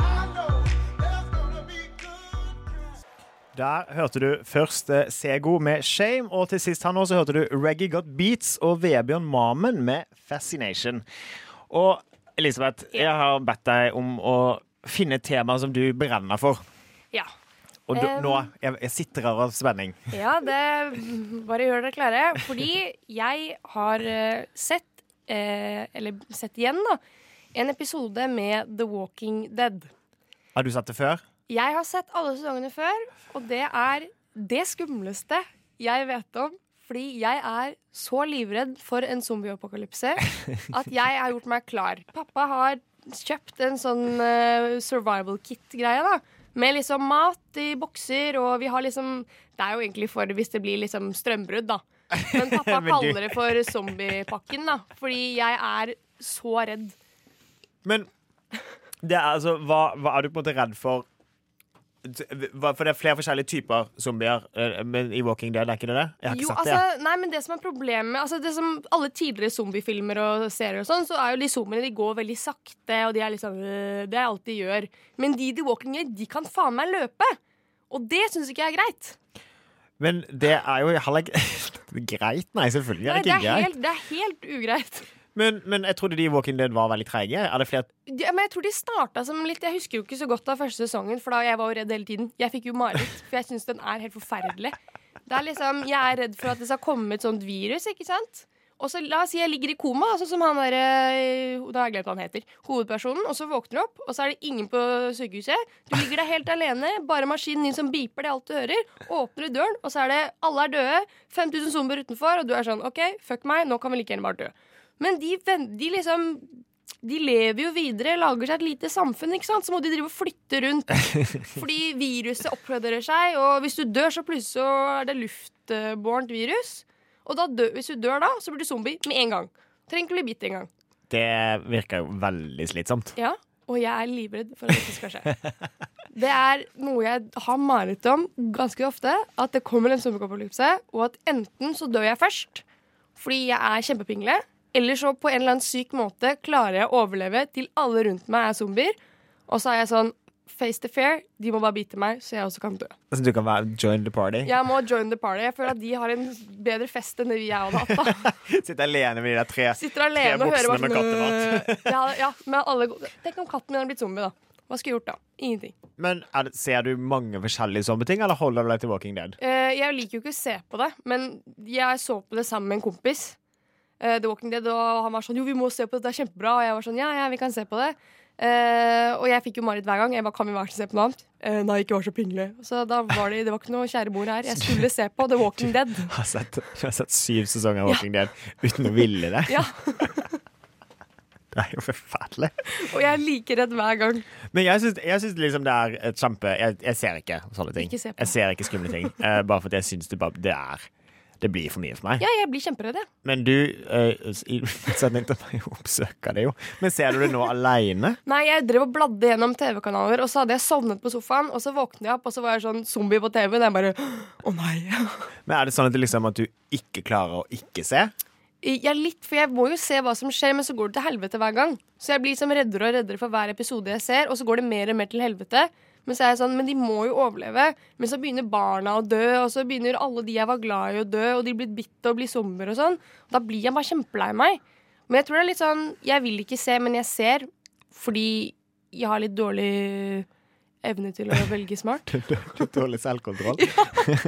C: Der hørte du først eh, Sego med Shame, og til sist her nå så hørte du Reggae Got Beats og Vebjørn Mamen med Fascination. Og Elisabeth, jeg har bedt deg om å finne et tema som du brenner for.
A: Ja.
C: Og du,
A: Um.
C: nå jeg, jeg sitter her av spenning.
A: Ja, det Bare gjør dere klare. Fordi jeg har eh, sett, eh, eller sett igjen, da, en episode med The Walking Dead.
C: Har du sett det før?
A: Jeg har sett alle sesongene før, og det er det skumleste jeg vet om. Fordi jeg er så livredd for en zombieapokalypse at jeg har gjort meg klar. Pappa har kjøpt en sånn eh, survival kit-greie, da. Med liksom mat i bokser, og vi har liksom Det er jo egentlig for hvis det blir liksom strømbrudd, da. Men pappa
C: Men du-
A: kaller det for zombiepakken, da. Fordi jeg er så redd.
C: Men det er altså hva, hva er du på en måte redd for? Hva- For det er flere forskjellige typer zombier eh, men i Walking Dead, er ikke det det? Jeg har ikke
A: Jo,
C: sett det.
A: altså, nei, men det som er problemet altså det som Alle tidligere zombiefilmer og serier og sånn, så er jo de zombiene de går veldig sakte, og de er litt sånn øh, Det er alt de gjør. Men de i The Walking Dead, de kan faen meg løpe! Og det syns ikke jeg er greit.
C: Men det er jo heller ikke greit. Nei, selvfølgelig er
A: Nei,
C: det
A: det,
C: ikke
A: er
C: greit.
A: helt, det er helt ugreit.
C: Men, men jeg trodde de i Walking Dead var veldig treige. Er det flere
A: Ja, men jeg tror de starta som litt Jeg husker jo ikke så godt av første sesongen, for da jeg var jo redd hele tiden. Jeg fikk jo mareritt, for jeg syns den er helt forferdelig. Det er liksom, Jeg er redd for at det skal komme et sånt virus, ikke sant? Og så La oss si jeg ligger i koma, da, sånn som han der eh, Da har jeg glemt hva han heter. Hovedpersonen. Og så våkner du opp, og så er det ingen på sykehuset. Du ligger der helt alene, bare maskinen din som beeper, det er alt du hører. Åpner du døren, og så er det alle er døde, 5000 zombier utenfor, og du er sånn OK, fuck meg, nå kan vi like gjerne bare dø. Men de, ven- de liksom de lever jo videre, lager seg et lite samfunn, ikke sant? så må de drive og flytte rundt. Fordi viruset oppgraderer seg, og hvis du dør, så plutselig så er det luftbårent virus. Og da dø, hvis du dør da, så blir du zombie med en gang. Trenger ikke bli bitt engang.
C: Det virker jo veldig slitsomt.
A: Ja, og jeg er livredd for at dette skal skje. Det er noe jeg har mareritt om ganske ofte. At det kommer en zombieapokalypse, og at enten så dør jeg først fordi jeg er kjempepingle, eller så på en eller annen syk måte klarer jeg å overleve til alle rundt meg er zombier. Og så er jeg sånn face to fair, de må bare bite meg, så jeg også kan dø.
C: Så du kan være join the party.
A: Jeg må join the party. Jeg føler at de har en bedre fest enn det jeg hadde hatt. da
C: Sitte alene med de der tre.
A: Sitter alene og hører
C: voksne med kattemat.
A: sånn, øh, ja, ja, men alle go- Tenk om katten min hadde blitt zombie, da. Hva skulle jeg gjort da? Ingenting.
C: Men er det, ser du mange forskjellige sånne ting, eller holder du deg til Walking Dead?
A: Eh, jeg liker jo ikke å se på det, men jeg så på det sammen med en kompis. eh, The Walking Dead, og han var sånn 'Jo, vi må se på det, det er kjempebra.' Og jeg var sånn 'Ja, ja, vi kan se på det'. Eh, og jeg fikk jo mareritt hver gang. Jeg bare, kan vi være så se på noe annet? Eh, nei, ikke vær så pingle. Så da var det, det var ikke noe kjære mor her. Jeg skulle se på The Walking Dead.
C: Jeg har sett, jeg har sett syv sesonger av Walking Dead uten å ville det.
A: Ja,
C: Det er jo forferdelig.
A: Og jeg er like redd hver gang.
C: Men jeg syns, jeg syns liksom det er et kjempe Jeg, jeg ser ikke sånne ting.
A: Ikke se på.
C: Jeg ser ikke skumle ting. eh, bare fordi jeg syns det, bare, det er Det blir for mye for meg.
A: Ja, jeg blir kjemperedd, jeg.
C: Men du, eh, i motsetning til meg, oppsøker det jo. Men ser du det nå aleine?
A: Nei, jeg drev og bladde gjennom TV-kanaler, og så hadde jeg sovnet på sofaen, og så våknet jeg opp, og så var jeg sånn zombie på TV-en. Jeg bare Å nei.
C: Men er det sånn at, det liksom, at du ikke klarer å ikke se?
A: Ja, litt, for jeg må jo se hva som skjer, men så går det til helvete hver gang. Så jeg blir liksom reddere og reddere for hver episode jeg ser, og så går det mer og mer til helvete. Men så er jeg sånn, men de må jo overleve. Men så begynner barna å dø, og så begynner alle de jeg var glad i å dø, og de blir bitt og blir zombier og sånn. Da blir jeg bare kjempelei meg. Men jeg tror det er litt sånn, jeg vil ikke se, men jeg ser fordi jeg har litt dårlig evne til å velge smart.
C: Litt dårlig selvkontroll.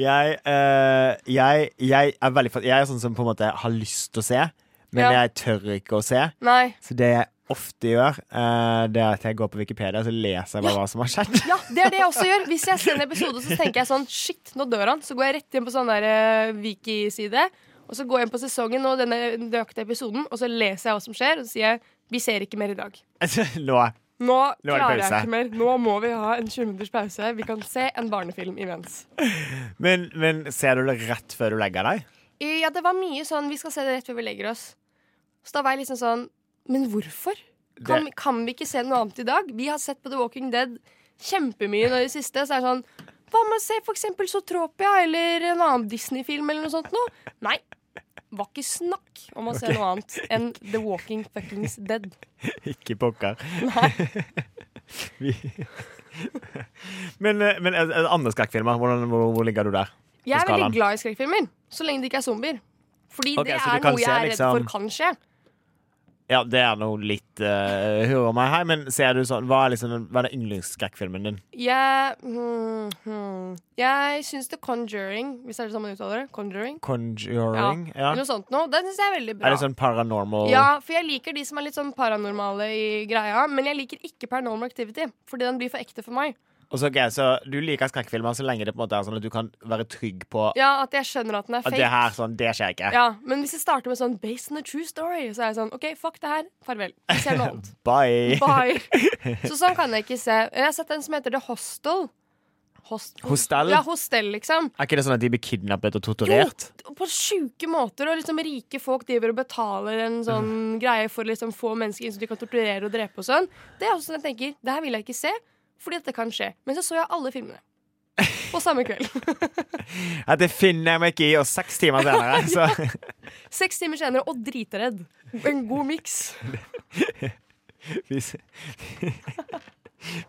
C: jeg, eh, jeg, jeg er veldig fast. Jeg er sånn som på en måte har lyst til å se, men
A: Ja.
C: jeg tør ikke å se.
A: Nei.
C: Så det jeg ofte gjør, eh, det er at jeg går på Wikipedia og så leser jeg bare hva som har skjedd.
A: Ja, det er det jeg også gjør. Hvis jeg ser en episode, så tenker jeg sånn Shit, nå dør han. Så går jeg rett inn på sånn der eh, Wiki-side. Og så går jeg inn på sesongen og denne nøyaktige episoden, og så leser jeg hva som skjer, og så sier jeg vi ser ikke mer i dag.
C: Altså, Nå
A: Nå,
C: Nå er det
A: klarer jeg
C: pause.
A: ikke mer. Nå må vi ha en 20 minutters pause. Vi kan se en barnefilm imens.
C: Men, men ser du det rett før du legger deg?
A: Eh, Ja, det var mye sånn Vi skal se det rett før vi legger oss. Så da var jeg liksom sånn Men hvorfor? Kan,
C: Det-
A: kan vi ikke se noe annet i dag? Vi har sett på The Walking Dead kjempemye nå i det siste. Så er det sånn Hva med å se for eksempel Zootropia eller en annen Disney-film eller noe sånt noe? Nei. Var ikke snakk om å se noe annet enn The Walking Fuckings Dead.
C: Ikke pokker.
A: Nei.
C: Vi... men, eh, men eh, andre skrekkfilmer, hvordan, hvor, hvor ligger du der?
A: Jeg er
C: skalaen.
A: veldig glad i skrekkfilmer, så lenge det ikke er zombier. Fordi
C: Ok,
A: det
C: så du
A: er
C: kan
A: noe jeg
C: se
A: er redd
C: liksom-
A: for kan skje.
C: Ja, det er noe litt uh, Hør meg her, men ser du sånn Hva er, liksom, hva er den yndlingsskrekkfilmen din?
A: Jeg hmm, hmm. Jeg syns The Conjuring, hvis det er det sånn man uttaler det. Conjuring.
C: Conjuring? Ja.
A: Eller noe sånt noe. Den syns jeg er veldig bra.
C: Er det sånn paranormal
A: Ja, for jeg liker de som er litt sånn paranormale i greia, men jeg liker ikke Paranormal Activity, fordi den blir for ekte for meg.
C: Og så, ok, så Du liker skrekkfilmer så lenge det på en måte er sånn at du kan være trygg på
A: Ja, at jeg skjønner at den er
C: at
A: fake.
C: det her sånn, det skjer ikke.
A: Ja, Men hvis jeg starter med sånn based on a true story, så er jeg sånn OK, fuck det her. Farvel. Vi ser noe annet.
C: Bye!
A: Bye. Så sånn kan jeg ikke se. Jeg har sett en som heter The Hostel. Host
C: Hostel?
A: Ja, hostel, liksom.
C: Er ikke det sånn at de blir kidnappet og torturert?
A: på sjuke måter, og liksom rike folk driver og betaler en sånn greie for liksom få mennesker inn som de kan torturere og drepe og sånn. Det er også sånn jeg tenker, det her vil jeg ikke se, fordi dette kan skje. Men så så jeg alle filmene. På samme kveld.
C: At det finner jeg meg ikke i, og seks timer senere så
A: Seks timer senere og dritredd. En god miks.
C: vi, s-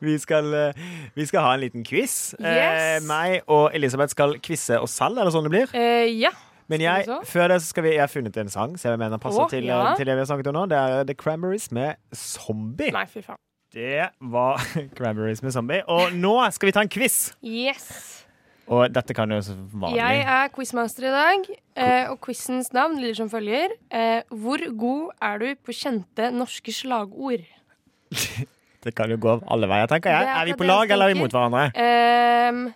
C: vi, skal, eh, vi skal ha en liten quiz. Eh,
A: Yes.
C: meg og Elisabeth skal quize oss selv, er det sånn det blir?
A: Eh, ja.
C: Men jeg,
A: Skal vi så?
C: før det så skal vi, jeg har funnet en sang som jeg mener passer
A: Å,
C: til, eh,
A: ja.
C: til det vi har snakket om nå. Det er eh, The Cranberries med Zombie.
A: Nei, fy faen.
C: Det var Cranberries med Zombie. Og nå skal vi ta en quiz!
A: Yes.
C: Og dette kan jo som vanlig.
A: Jeg er quizmaster i dag, eh, og quizens navn lyder som følger. Eh, hvor god er du på kjente norske slagord?
C: Det kan jo gå alle veier, tenker jeg.
A: Det er
C: Er vi
A: akkurat
C: på
A: det jeg
C: lag, eller er vi
A: tenker.
C: mot hverandre?
A: Ehm,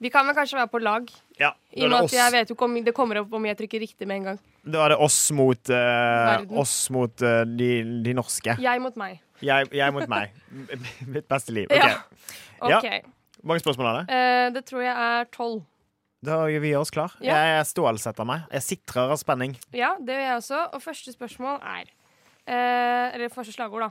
A: vi kan vel kanskje være på lag,
C: Ja,
A: i og med at jeg vet jo ikke om det kommer opp om jeg trykker riktig med en gang.
C: Da er det oss mot, eh,
A: Verden.
C: oss mot eh, de, de norske.
A: Jeg mot meg.
C: Jeg, jeg mot meg. M- Mitt beste liv.
A: Ja.
C: OK. Ja.
A: OK.
C: Mange spørsmål er det?
A: Eh, det tror jeg er tolv.
C: Da gjør vi oss klar.
A: Ja.
C: Jeg stålsetter meg. Jeg sitrer av spenning.
A: Ja, det gjør jeg også. Og første spørsmål er eh, Eller første slagord, da.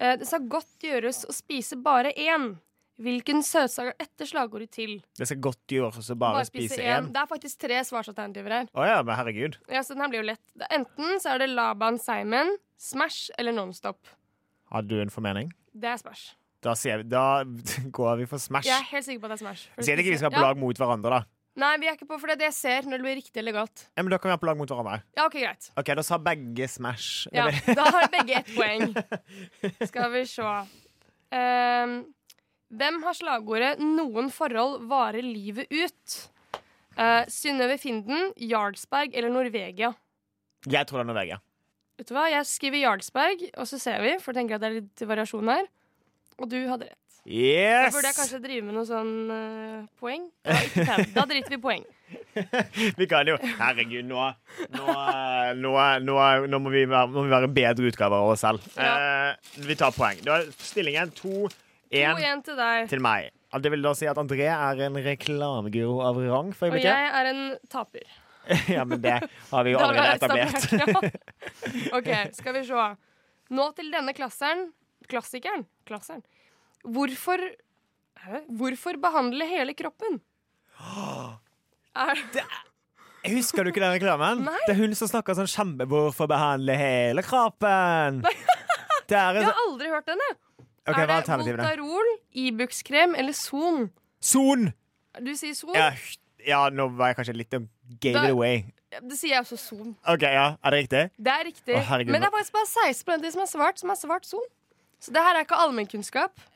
A: Eh, det skal godt gjøres å spise bare én. Hvilken søtsaker etter slagordet til?
C: Det skal godt gjøres å bare, spise én.
A: Det er faktisk tre svarsalternativer her.
C: Å ja, men herregud.
A: Ja, så den her blir jo lett. Det er Enten så er det Laban Simon, Smash eller Nonstop.
C: Har du en formening?
A: Det er Smash.
C: Da, sier vi, da går vi for Smash.
A: Jeg er helt sikker på at det er Smash. For
C: Sier det ikke vi skal være
A: Ja.
C: på lag mot hverandre, da?
A: Nei, vi er ikke på, for det er det jeg ser når det blir riktig eller galt.
C: Ja, men da kan vi være på lag mot hverandre.
A: Ja, ok, greit.
C: OK, da sa begge Smash.
A: Ja,
C: Eller-
A: da har begge ett poeng. Skal vi se. Ehm, hvem har slagordet 'Noen forhold varer livet ut'? Uh, Synnøve Finden, Jarlsberg eller Norvegia?
C: Jeg tror det er Norvegia.
A: Vet du hva, Jeg skriver Jarlsberg, og så ser vi, for jeg tenker at det er litt variasjon her. Og du hadde rett. Da
C: Yes!
A: burde jeg kanskje drive med noe sånn eh, poeng. Ja, ikke pen. Da driter vi i poeng.
C: Vi kan jo Herregud, nå Nå, eh, nå, nå, nå må, vi være, nå må vi være bedre utgaver av oss selv.
A: Ja.
C: Eh, vi tar poeng. Da er stillingen 2-1
A: 2-1 til deg.
C: til meg. Og Det vil da si at André er en reklameguro av rang for
A: Og
C: øyeblikket.
A: jeg er en taper.
C: Ja, men det har vi jo
A: Det har vi
C: allerede etablert.
A: ja. OK, skal vi se. Nå til denne klasseren. Klassikeren. Klasseren. Hvorfor Hæ? Hvorfor behandle hele kroppen? Er,
C: Husker du ikke den reklamen?
A: Nei.
C: Det er hun som snakker sånn kjempe Hvorfor behandle hele kroppen? Det er en
A: jeg
C: sånn
A: har aldri hørt den, jeg. er
C: Ok, Hva er
A: det
C: alternativene?
A: Voltarol, Ibux-krem eller Son?
C: Son!
A: Du sier Son.
C: Ja, hysj. ja, nå var jeg kanskje litt um, Gave
A: Da-
C: it away.
A: Det sier jeg også Son.
C: OK, ja. Er det riktig?
A: Det er riktig.
C: Å, herregud,
A: Men det
C: hva-
A: er faktisk bare 16 av de som har svart, som har svart Son. Så det her er ikke allmennkunnskap.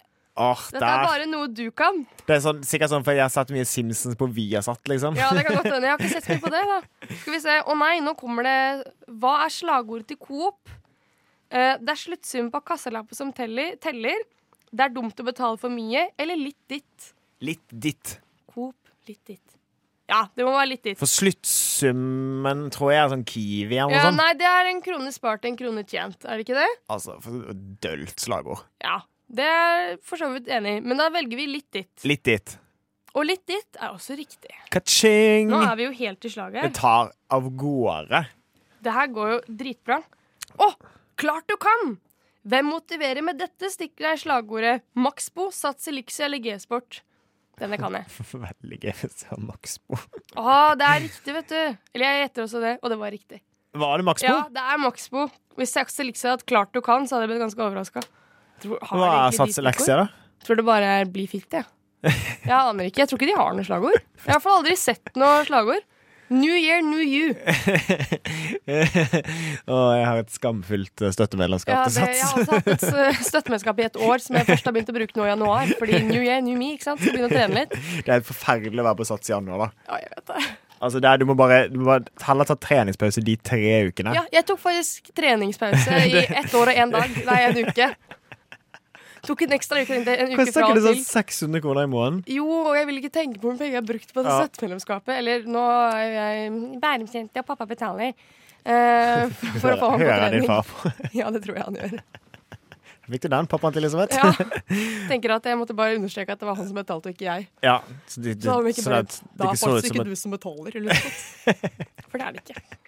C: Åh,
A: Dette er
C: der.
A: bare noe du kan.
C: Det er sånn, sikkert sånn fordi jeg har satt mye Simpsons på Viasat, liksom.
A: Ja, det kan godt hende. Jeg har ikke sett så mye på det. da Skal vi se. Å nei, nå kommer det Hva er slagordet til Coop? Eh, det er sluttsum på kassalappen som teller, teller. Det er dumt å betale for mye. Eller litt ditt.
C: Litt ditt.
A: Coop, litt ditt. Ja, det må være litt ditt.
C: For sluttsummen tror jeg er sånn Kiwi eller noe
A: Ja,
C: sånt.
A: nei, det er en krone spart, en krone tjent. Er det ikke det?
C: Altså, for dølt slagord.
A: Ja. Det er jeg for så vidt enig i. Men da velger vi litt ditt.
C: Litt ditt.
A: Og litt ditt er også riktig.
C: Ka-ching!
A: Nå er vi jo helt i
C: Det
A: slaget.
C: tar av gårde.
A: Det her går jo dritbra. Å, klart du kan! Hvem motiverer med dette, stikker deg slagordet Maxbo, Sats Elixir eller G-sport. Denne kan jeg.
C: Veldig gøy hvis det var Maxbo.
A: Å, det er riktig, vet du. Eller jeg gjetter også det, og det var riktig.
C: Var det Maxbo?
A: Ja, det er Maxbo. Hvis Sats Elixir hadde klart du kan, så hadde jeg blitt ganske overraska.
C: Hva er satseleksia, da?
A: Tror det bare er bli fitt, jeg. Ja. Jeg aner ikke. Jeg tror ikke de har noe slagord. Jeg har i hvert fall aldri sett noe slagord. New year, new you.
C: Og jeg har et skamfullt eh, støttemedlemskap
A: Ja,
C: til
A: det, jeg har
C: Sats.
A: også hatt et s- støttemedlemskap i et år som jeg først har begynt å bruke nå i januar. Fordi new year, new me, ikke sant? Skal begynne å trene litt.
C: Det er helt forferdelig å være på Sats i januar, da.
A: Ja, jeg vet det.
C: Altså, det er, du må bare, du må bare heller ta treningspause de tre ukene.
A: Ja, jeg tok faktisk treningspause i ett år og én dag. Nei, en uke. Tok en ekstra uke, en en uke
C: Koster
A: fra
C: ikke
A: og
C: det sånn
A: til.
C: 600 kroner i måneden?
A: Jo, og jeg vil ikke tenke på hvor mye penger jeg har brukt på det
C: Ja.
A: støttemedlemskapet. Eller nå er jeg Bærumsjente, og pappa betaler. eh, for, for å få ham på
C: Hører din
A: trening.
C: far på.
A: Ja, det tror jeg han gjør.
C: Fikk du den, pappaen til Elisabeth?
A: Ja. Tenker at Jeg måtte bare understreke at det var han som betalte, og ikke jeg.
C: Ja, så de, de,
A: Så hadde de ikke
C: sånn
A: bare,
C: at det
A: da er
C: ikke så ut
A: faktisk
C: som
A: ikke
C: et,
A: du som betaler. Eller noe sånt. For det er det ikke.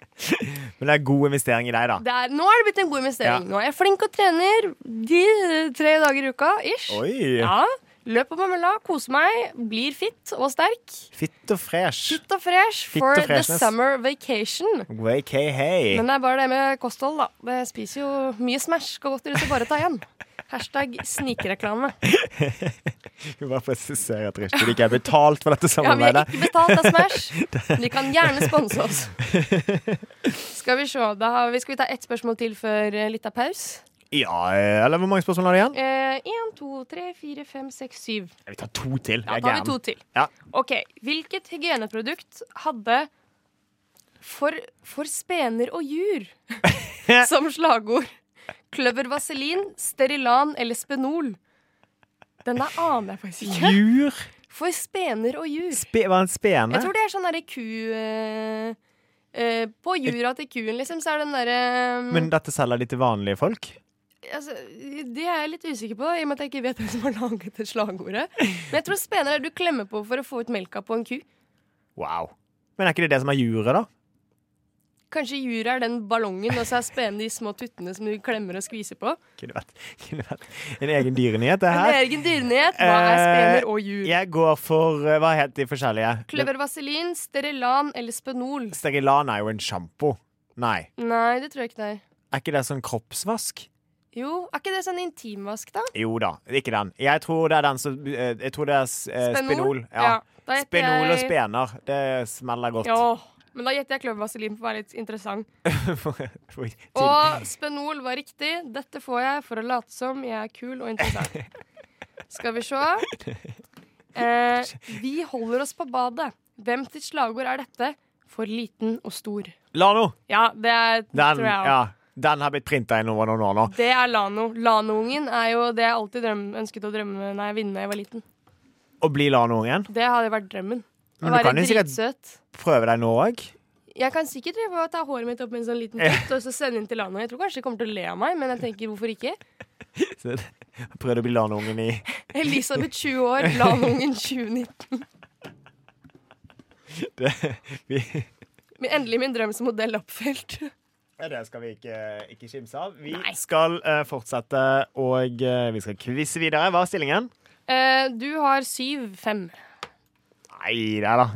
C: Men det er god investering i deg, da.
A: Det er, nå er det blitt en god investering.
C: Ja.
A: Nå er jeg flink og trener de eh, tre dager i uka ish.
C: Oi!
A: Ja. Løper på mølla, koser meg, blir fit og sterk.
C: Fitt og fresh.
A: Fit og fresh
C: Fit
A: for
C: og
A: the
C: freshness.
A: summer vacation.
C: Wake hey hey.
A: Men det er bare det med kosthold, da. Det spiser jo mye Smash. Skal godt ut og bare ta igjen. Hashtag snikreklame.
C: Jeg bare presisere at Rushdie ikke er betalt for dette
A: Ja, vi er
C: samarbeidet.
A: ikke betalt av Smash. De kan gjerne sponse oss. Skal vi se, da har vi, skal vi ta ett spørsmål til før eh, litt av paus?
C: Ja, eller hvor mange spørsmål har du igjen?
A: Én, to, tre, fire, fem, seks, syv.
C: Vi tar to til.
A: Ja,
C: Jeg
A: da har
C: er
A: vi to
C: gæren.
A: til.
C: Ja.
A: Ok, Hvilket hygieneprodukt hadde for, for spener og jur som slagord? Kløver vaselin, Sterilan eller Spenol? Den der aner jeg faktisk ikke.
C: Jur.
A: For spener og jur.
C: Spe, var det en spene?
A: Jeg tror det er sånn derre ku... eh, eh, på jura til kuen, liksom, så er den derre
C: Men dette selger de til vanlige folk?
A: altså, Det er jeg litt usikker på, i og med at jeg ikke vet hvem som har laget det slagordet. Men jeg tror spener er det du klemmer på for å få ut melka på en ku.
C: Wow. Men er ikke det det som er juret, da?
A: Kanskje jura er den ballongen, og så er spenen de små tuttene som du klemmer og skviser på.
C: Kunne vært, kunne vært en egen dyrenyhet, det
A: En
C: her.
A: egen dyrenyhet. Hva
C: Eh,
A: er spener og jur?
C: Jeg går for eh, Hva het de forskjellige?
A: Kløvervaselin, Sterilan eller Spenol?
C: Sterilan er jo en sjampo. Nei.
A: Nei, det tror jeg ikke det er.
C: Er ikke det sånn kroppsvask?
A: Jo, er ikke det sånn intimvask, da?
C: Jo da, ikke den. Jeg tror det er den som eh, Jeg tror det er eh, spinol. Ja.
A: Da gjetter
C: Spinol og
A: jeg-
C: spener. Det smeller godt.
A: Ja, men da gjetter jeg kløvervaselin for å være litt interessant.
C: Oi, ting.
A: Og Spenol var riktig. Dette får jeg for å late som jeg er kul og interessant. Skal vi se. Eh, vi holder oss på badet. Hvem sitt slagord er dette? For liten og stor.
C: Lano!
A: Ja, det er,
C: Den,
A: tror jeg også.
C: ja, den har blitt printa inn over noen år nå.
A: Det er Lano. Lano-ungen er jo det jeg alltid drøm, ønsket å drømme Nei, vinne da jeg var liten.
C: Å bli Lano igjen.
A: Det hadde vært drømmen. Å
C: Men du
A: være
C: kan jo sikkert-
A: dritsøt.
C: Prøve deg nå òg.
A: Jeg kan sikkert drive og ta håret mitt opp med en sånn liten putt og så sende inn til Lano. Jeg tror kanskje de kommer til å le av meg, men jeg tenker hvorfor ikke?
C: Prøvde å bli Lano-ungen i
A: Elisabeth 20 år, Lano-ungen 2019.
C: vi,
A: Min- Endelig min drøm som modell oppfylt.
C: Ja, Det skal vi ikke, ikke kimse av. Vi
A: Nei.
C: skal eh, fortsette, og eh, vi skal quize videre. Hva er stillingen?
A: Eh, du har syv, fem.
C: Nei, det er da.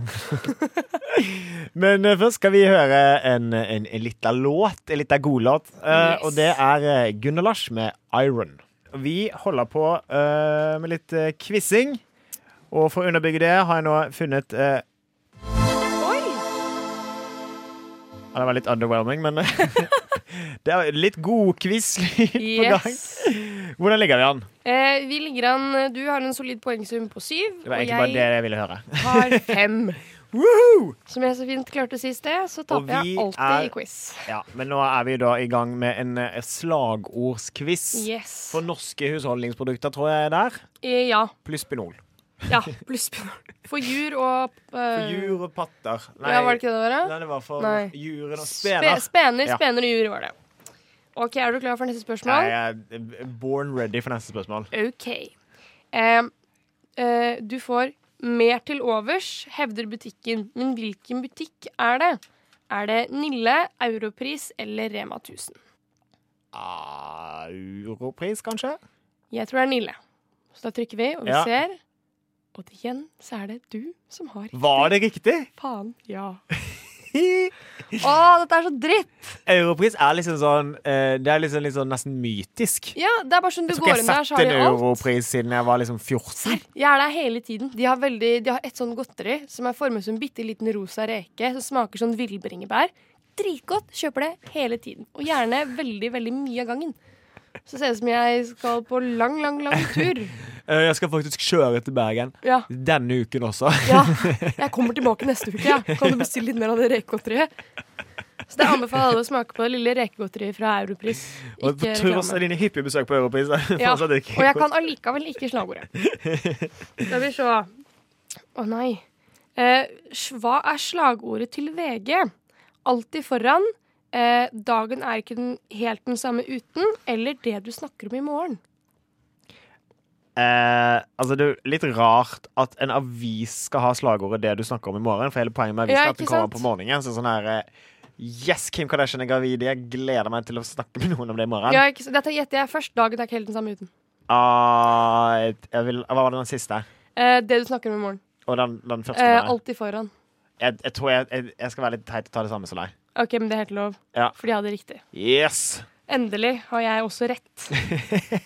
C: Men eh, først skal vi høre en, en, en liten låt, en liten godlåt. Uh,
A: Yes.
C: Og det er eh, Gunnar Lars eh, med 'Iron'. Vi holder på eh, med litt uh, quizing, og for å underbygge det har jeg nå funnet eh, ja, Det var litt underwhelming, men det er litt god quiz på gang.
A: Yes.
C: Hvordan ligger vi an?
A: Eh, vi ligger an Du har en solid poengsum på syv,
C: Det var
A: og
C: egentlig bare det
A: jeg
C: jeg ville høre.
A: har fem.
C: Woohoo!
A: Som jeg så fint klarte sist det, så
C: Og
A: taper jeg
C: vi
A: alltid
C: er-
A: i quiz.
C: Ja, men nå er vi da i gang med en eh, slagordsquiz.
A: Yes.
C: For norske husholdningsprodukter, tror jeg er der.
A: Eh, ja.
C: Pluss Pinol.
A: ja. Blusspinner. For jur og eh,
C: For jur og patter. Nei,
A: Øh. Ja, var det ikke det det var? da?
C: nei, det var for
A: Nei.
C: juren og
A: Spe
C: spener.
A: spener,
C: Ja.
A: spener og jur var det. OK, er du klar for neste
C: Nei,
A: spørsmål?
C: jeg er born ready for neste spørsmål.
A: OK. Em, eh, du får mer til overs, hevder butikken. Men hvilken butikk er det? Er det Nille, Europris eller Rema 1000?
C: Ah, Europris, kanskje?
A: Jeg tror det er Nille. Så da trykker vi, og vi
C: Ja.
A: ser. Og igjen så er det du som har riktig.
C: Var det riktig?
A: Faen. Ja. Å, dette er så dritt!
C: Europris er liksom sånn eh, Det er liksom, litt sånn nesten mytisk.
A: Ja, det er bare sånn du
C: Jeg tror ikke
A: går
C: jeg
A: inn der,
C: har
A: så
C: sett
A: har
C: en
A: de alt.
C: europris siden jeg var liksom 14.
A: Jeg er der hele tiden. De har, veldig, de har et sånn godteri som er formet som en bitte liten rosa reke som smaker sånn villbringebær. Dritgodt. Kjøper det hele tiden. Og gjerne veldig, veldig mye av gangen. Så ser det ut som jeg skal på lang, lang, lang tur.
C: Eh, Jeg skal faktisk kjøre til Bergen
A: Ja.
C: denne uken også.
A: ja. Jeg kommer tilbake neste uke, ja. Kan du bestille litt mer av det rekegodteriet? Så det anbefaler alle å smake på det lille rekegodteriet fra Europris.
C: Og på
A: Ikke
C: tross av
A: reklame.
C: dine hyppige besøk på Europris.
A: Ja.
C: fortsatt ikke.
A: Og jeg kan allikevel ikke slagordet. Skal vi se. Å nei. Eh, sj- hva er slagordet til VG? Alltid foran. Eh, dagen er ikke den, helt den samme uten. Eller det du snakker om i morgen.
C: Eh, altså Det er jo litt rart at en avis skal ha slagordet 'det du snakker om i morgen'. For hele poenget med avisen
A: Ja,
C: er at den
A: ikke
C: kommer
A: sant?
C: på morgenen. Så sånn her eh, Yes, Kim Kardashian er gravid. Jeg gleder meg til å snakke med noen om det i morgen.
A: Ja, ikke, s- dette gjetter jeg først. Dagen er ikke helt den samme uten.
C: Ah, et- jeg vil, hva var det den siste?
A: Eh, det du snakker om i morgen.
C: Og den, den første?
A: Eh,
C: var det.
A: alltid foran.
C: jeg, jeg tror jeg, jeg, jeg skal være litt teit og ta det samme som deg.
A: OK, men det er helt lov.
C: Ja.
A: For de hadde riktig.
C: Yes!
A: Endelig har jeg også rett.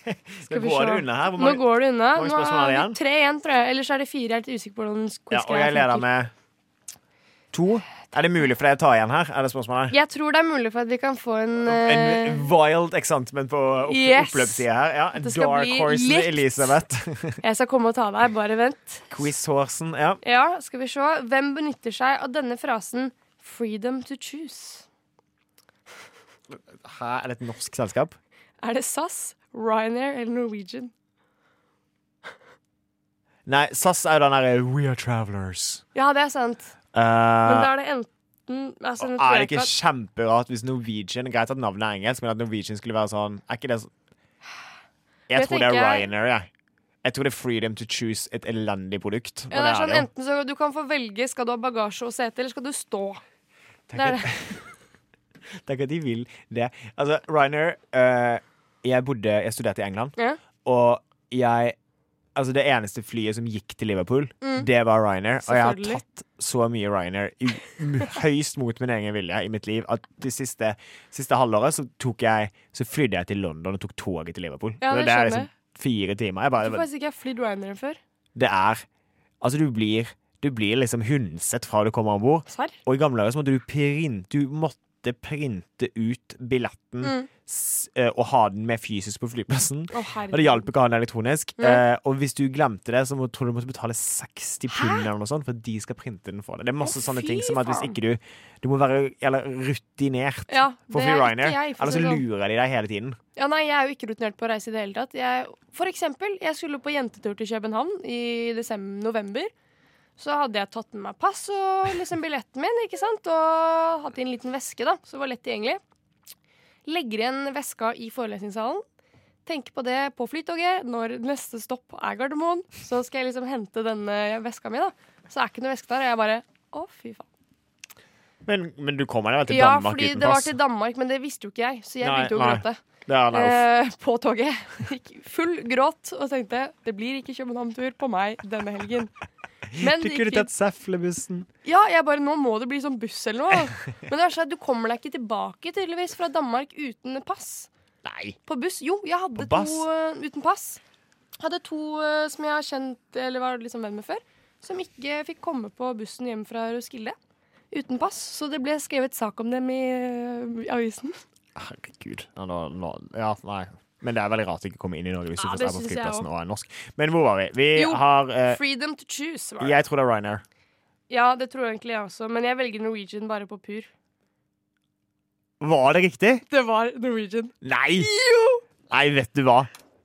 C: Nå
A: Skal vi
C: går
A: se.
C: det unna her. Hvor
A: Nå
C: mange,
A: går det unna.
C: mange
A: Nå
C: spørsmål er
A: er
C: det
A: det
C: igjen?
A: tre igjen, tror jeg. Ellers er det fire. Jeg er litt usikker på hvordan
C: ja, og
A: quizgreier
C: jeg leder
A: funker.
C: med to. Er det mulig for deg å ta igjen her? Er det spørsmålet?
A: Jeg tror det er mulig for at vi kan få en eh,
C: En wild excitement på opp
A: Yes.
C: oppløpssida her. Ja.
A: Det skal
C: Dark
A: bli
C: horse
A: likt.
C: Elisabeth.
A: Jeg skal komme og ta deg, bare vent.
C: Quiz-horsen. Ja.
A: Ja, skal vi se. Hvem benytter seg av denne frasen 'freedom to choose'?
C: Her er det et norsk selskap.
A: Er det SAS, Ryanair eller Norwegian?
C: Nei, SAS er jo den derre We are travelers.
A: Ja, det er sant.
C: Eh,
A: Men da er det enten altså, nå tror
C: er det
A: jeg
C: ikke
A: at-
C: kjemperart hvis Norwegian Greit at navnet er engelsk, men at Norwegian skulle være sånn Er ikke det sånn Jeg
A: Det
C: tror det er
A: tenker jeg-
C: Ryanair, jeg. Jeg tror det er freedom to choose et elendig produkt.
A: ja, det er sånn,
C: jo.
A: enten så Du kan få velge. Skal du ha bagasje og sete, eller skal du stå? Det er det.
C: Tenk at de vil det. Altså, Ryanair eh, Jeg bodde Jeg studerte i England,
A: Ja.
C: og jeg Altså, det eneste flyet som gikk til Liverpool, det var Ryanair. Og jeg har
A: Mm. Selvfølgelig.
C: tatt så mye Ryanair, i, m- høyst mot min egen vilje, i mitt liv, at det siste, siste halvåret så tok jeg Så flydde jeg til London og tok toget til Liverpool.
A: Ja,
C: Så
A: det
C: det er
A: skjønner
C: liksom fire timer.
A: Jeg tror
C: Jeg bare,
A: faktisk ikke jeg har flydd Ryanair før.
C: det er Altså, du blir du blir liksom hundset fra du kommer om bord.
A: Serr?
C: Og i gamle dager så måtte du printe Du måtte printe ut billetten
A: Mm.
C: s- eh, og ha den med fysisk på flyplassen.
A: Å,
C: Og det hjalp ikke å ha den elektronisk.
A: Nei.
C: Eh, og hvis du glemte det, så må, tror jeg du måtte betale 60 pund eller noe sånt for at de skal printe den for deg. Det er masse
A: Å,
C: sånne
A: fy
C: ting som at hvis
A: faen.
C: ikke du Du må være eller, rutinert
A: Ja,
C: for
A: det
C: Fly
A: er ikke
C: Ryanair.
A: jeg, for å
C: Eller
A: si
C: så
A: det sånn.
C: lurer de deg hele tiden.
A: Ja, nei, jeg er jo ikke rutinert på å reise i det hele tatt. Jeg, for eksempel, jeg skulle på jentetur til København i desember, november. Så hadde jeg tatt med meg pass og liksom billetten min, ikke sant? Og hatt i en liten veske, da, så det var lett tilgjengelig. Legger igjen veska i forelesningssalen. Tenker på det på flytoget. Når neste stopp er Gardermoen, så skal jeg liksom hente denne veska mi, da. Så er ikke noe veske der, og jeg bare Å, fy faen.
C: Men, men du kommer deg vel til
A: Ja,
C: Danmark
A: fordi
C: uten
A: det var
C: pass?
A: til Danmark, men det visste jo ikke jeg, så jeg
C: Nei,
A: begynte jo å
C: nei.
A: gråte
C: Det er det jo.
A: eh, på toget. Gikk full gråt og tenkte det blir ikke København-tur på meg denne helgen. Men
C: Du
A: det
C: kunne
A: gikk
C: tatt
A: fint.
C: Seflebussen.
A: Ja, jeg bare, nå må det bli sånn buss eller noe. Men det er sånn at du kommer deg ikke tilbake tydeligvis fra Danmark uten pass.
G: Nei.
A: På buss? Jo, jeg hadde
C: På bass?
A: to eh, uten pass. Hadde to eh, som jeg har kjent eller var liksom venn med før, som ikke fikk komme på bussen hjem fra Roskilde uten pass. Så det ble skrevet sak om dem i eh, avisen.
G: Herregud. Ja, nå, nå, ja, nei. Men det er veldig rart å ikke komme inn i Norge hvis du
A: Ja,
G: først
A: det
G: er på
A: synes jeg
G: flyplassen
A: også.
G: og er norsk. Men hvor var vi? Vi
A: Jo.
G: har eh,
A: Freedom to choose, var det.
G: Jeg tror det er Ryanair.
A: Ja, det tror egentlig jeg også, men jeg velger Norwegian bare på pur.
G: Var det riktig?
A: Det var Norwegian.
G: Nei! Nei, vet du hva.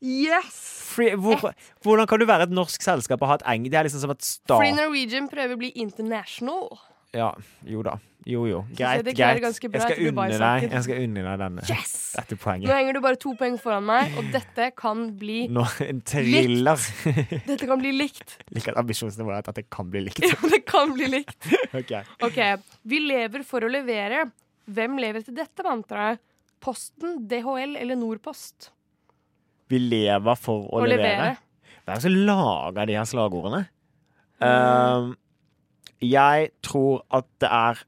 A: Yes!
C: Free,
A: Eh.
C: hvor, hvordan kan du være et norsk selskap og ha et eng? Det er liksom som et
A: Fordi
C: stat...
A: Norwegian prøver å bli international.
C: Ja, jo da. Jo, jo. Greit,
A: det klarer
C: greit.
A: ganske bra
C: Jeg skal
A: etter
C: unne deg,
A: Dubai-saken.
C: jeg skal unne deg denne,
A: Yes!
C: dette
A: Nå
C: poenget.
A: henger du bare to poeng foran meg, og dette kan bli,
C: Nå, en thriller.
A: dette kan bli likt.
G: Liker at ambisjonsnivået er at det kan bli likt.
A: Ja, det kan bli likt.
G: Ok.
A: Ok, vi lever for å levere. Hvem lever til dette mantraet? Posten, DHL eller Nordpost?
C: Vi lever for å,
A: Å
C: levere.
A: levere.
C: Hvem er det som lager de her slagordene? Um, jeg tror at det er